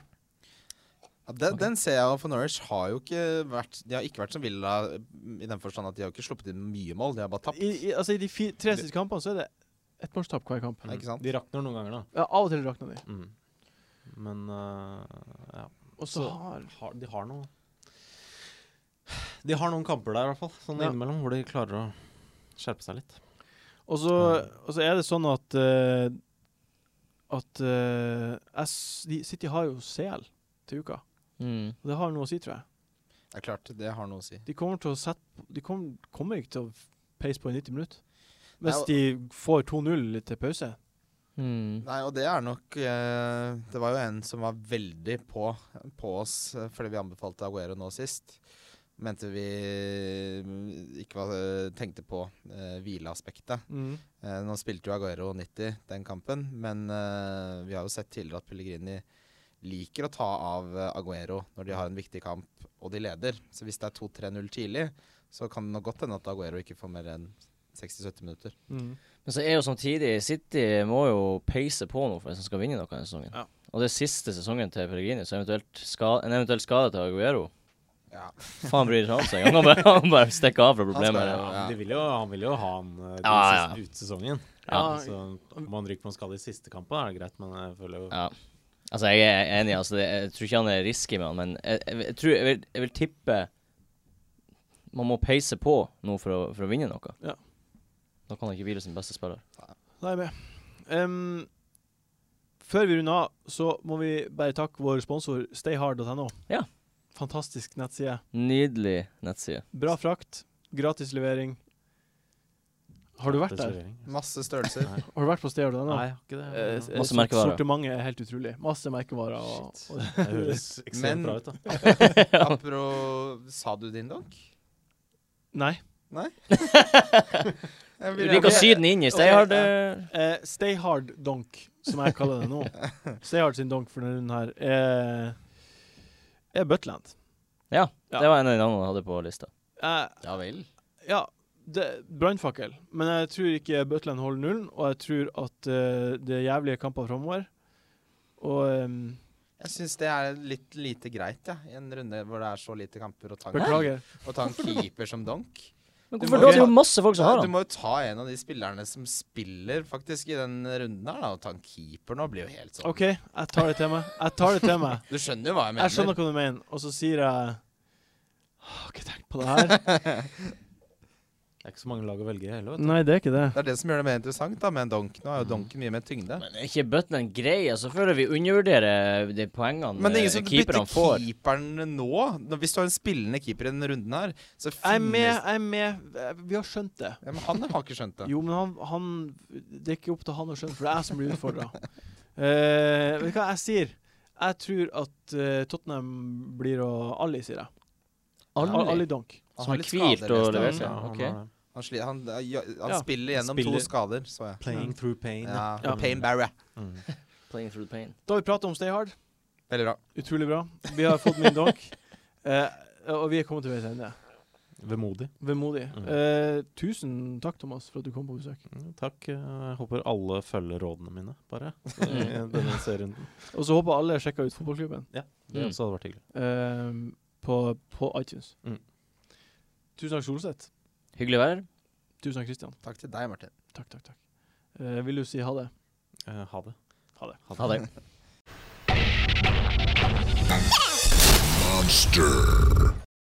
Ja, den, den ser jeg, og for Norwich har jo ikke vært De har ikke vært som Villa i den forstand at de har jo ikke sluppet inn mye mål, de har bare tapt. I, i, altså, I de fi, tre siste kampene så er det ettmålstap hver kamp. Ikke sant? De rakner noen ganger, da. Ja, av og til rakner de. Mm. Men eh, ja. Og så Så- har har, de har noe De har noen kamper der, i hvert fall. Sånn Ja. innimellom, hvor de klarer å skjerpe seg litt. Og så, og så er det sånn at eh, At eh, jeg s- de- City har jo CL til uka. Mm. Og det har noe å si, tror jeg. Det er klart, det har noe å si. De kommer til å sette De kommer, kommer ikke til å peise på i 90 minutter. Nei, Hvis og- de får 2-0 til pause. Mm. Nei, og det er nok eh, Det var jo en som var veldig på, på oss eh, fordi vi anbefalte Aguero nå sist. Mente vi mm, ikke var, tenkte på eh, hvileaspektet. Eh, nå spilte jo Aguero 90 den kampen, men eh, vi har jo sett tidligere at Pellegrini liker å ta av eh, Aguero når de har en viktig kamp og de leder. Så hvis det er 2-3-0 tidlig, så kan det nok godt hende at Aguero ikke får mer enn 60-70 minutter. Mm. Men så er jo samtidig City må jo peise på nå for hvis de skal vinne noe denne sesongen. Ja. Og det er siste sesongen til Pellegrini, så eventuelt ska, en eventuell skade til Aguero Ja. Faen bryr seg om seg. Han kan bare, han kan bare stikke av fra skal- problemet. Ja. men de vil jo, han vil jo ha han eh, den Ja, siste- ut sesongen. Ja. Så om han ryker på en skade i siste kampen, er det greit, men jeg føler jo Ja. Altså, jeg er enig. Altså, det, jeg tror ikke han er risky med han, men jeg, jeg, jeg, tror, jeg, vil, jeg vil tippe man må peise på nå for å, for å vinne noe. Ja. Da kan han ikke hvile sin beste spiller. Da er jeg med. Em, før vi runder av, så må vi bare takke vår sponsor stayhard.no. Ja. Fantastisk nettside. Nydelig nettside. Bra frakt, gratis levering. Har du vært der? Servering. Masse størrelser. (laughs) Nei. Har du vært på stayhard.no? Nei, jeg har ikke det. Eh, men, eh, Masse sort- merkevarer. Sortimentet er helt utrolig. Masse merkevarer. Og, Shit. og (laughs) Det høres ekstremt Men- bra ut, (laughs) da. Apro Sa du din donk? nei. Jeg Du vil liker å gjerne- sy den inn i Stayhard. eh, Eh, stayhard donk, som jeg kaller det nå. (laughs) Stayhard sin donk for denne runden her er, er Butland. Eh, Ja, Ja. det var en av de navnene jeg hadde på lista. Jeg, Ja vel. Ja, det- brannfakkel. Men jeg tror ikke Butland holder nullen, og jeg tror at eh, det er jævlige kamper framover. Og ehm, Jeg syns det er litt lite greit, ja, i en runde hvor det er så lite kamper, og ta en, beklager. og ta en keeper som donk. Men Du må hvorfor da? ikke- Det er jo masse folk som Ja, har Du han. må jo ta en av de spillerne som spiller faktisk i den runden her, da, og ta en keeper nå. blir jo helt sånn. OK, jeg tar det til meg. Jeg tar det til meg. Du skjønner jo hva jeg (laughs) mener. Jeg skjønner hva du mener, og så sier jeg Har ikke tenkt på det her. Det er ikke så mange lag å velge i heller, vet du. (laughs) Nei, det er ikke det. Det er det som gjør det mer interessant da, med en donk. Nå er jo donken mye mer tyngde. Men er ikke Butland grei? Altså, føler vi undervurderer eh, de poengene Men det er ingen eh, som keeperne bytter får. keeperen nå. Nå- Hvis du har en spillende keeper i denne runden her, så Jeg er med. finnes Jeg er med. Eh, Vi har skjønt det. ja, men Han har ikke skjønt det. Jo, men han, han Det er ikke opp til han å skjønne, for det er jeg som blir utfordra. (laughs) vet du hva jeg sier? Jeg tror at eh, Tottenham blir å Ali, sier jeg. Ali, Alle Donk. Han som har har litt hvilt skader og neste levert år, seg. Ja, han Mm, Ok. har det. Han, sli, han, ja, han Ja. spiller gjennom Spiller- to skader, så jeg. Playing through pain. Ja, Ja. Pain barrier. Mm. Playing through the pain. Da har vi pratet om Stay Hard. Veldig bra. Utrolig bra. Vi har fått min donk. Eh, og vi er kommet til veis ende. Vemodig. Vemodig. Mm. Eh, tusen takk, Thomas, for at du kom på besøk. Mm, Takk. eh, Jeg håper alle følger rådene mine, bare. (laughs) I Mm. denne serierunden. Og så håper alle sjekker ut fotballklubben Det Mm. også hadde vært hyggelig. eh, på, på iTunes. Mm. Tusen takk, Solseth. Hyggelig vær. Tusen takk, Christian. Takk til deg, Martin. Takk, takk, takk. Eh, vil du si ha det? Eh, Ha det. Ha det. Ha det. Monster.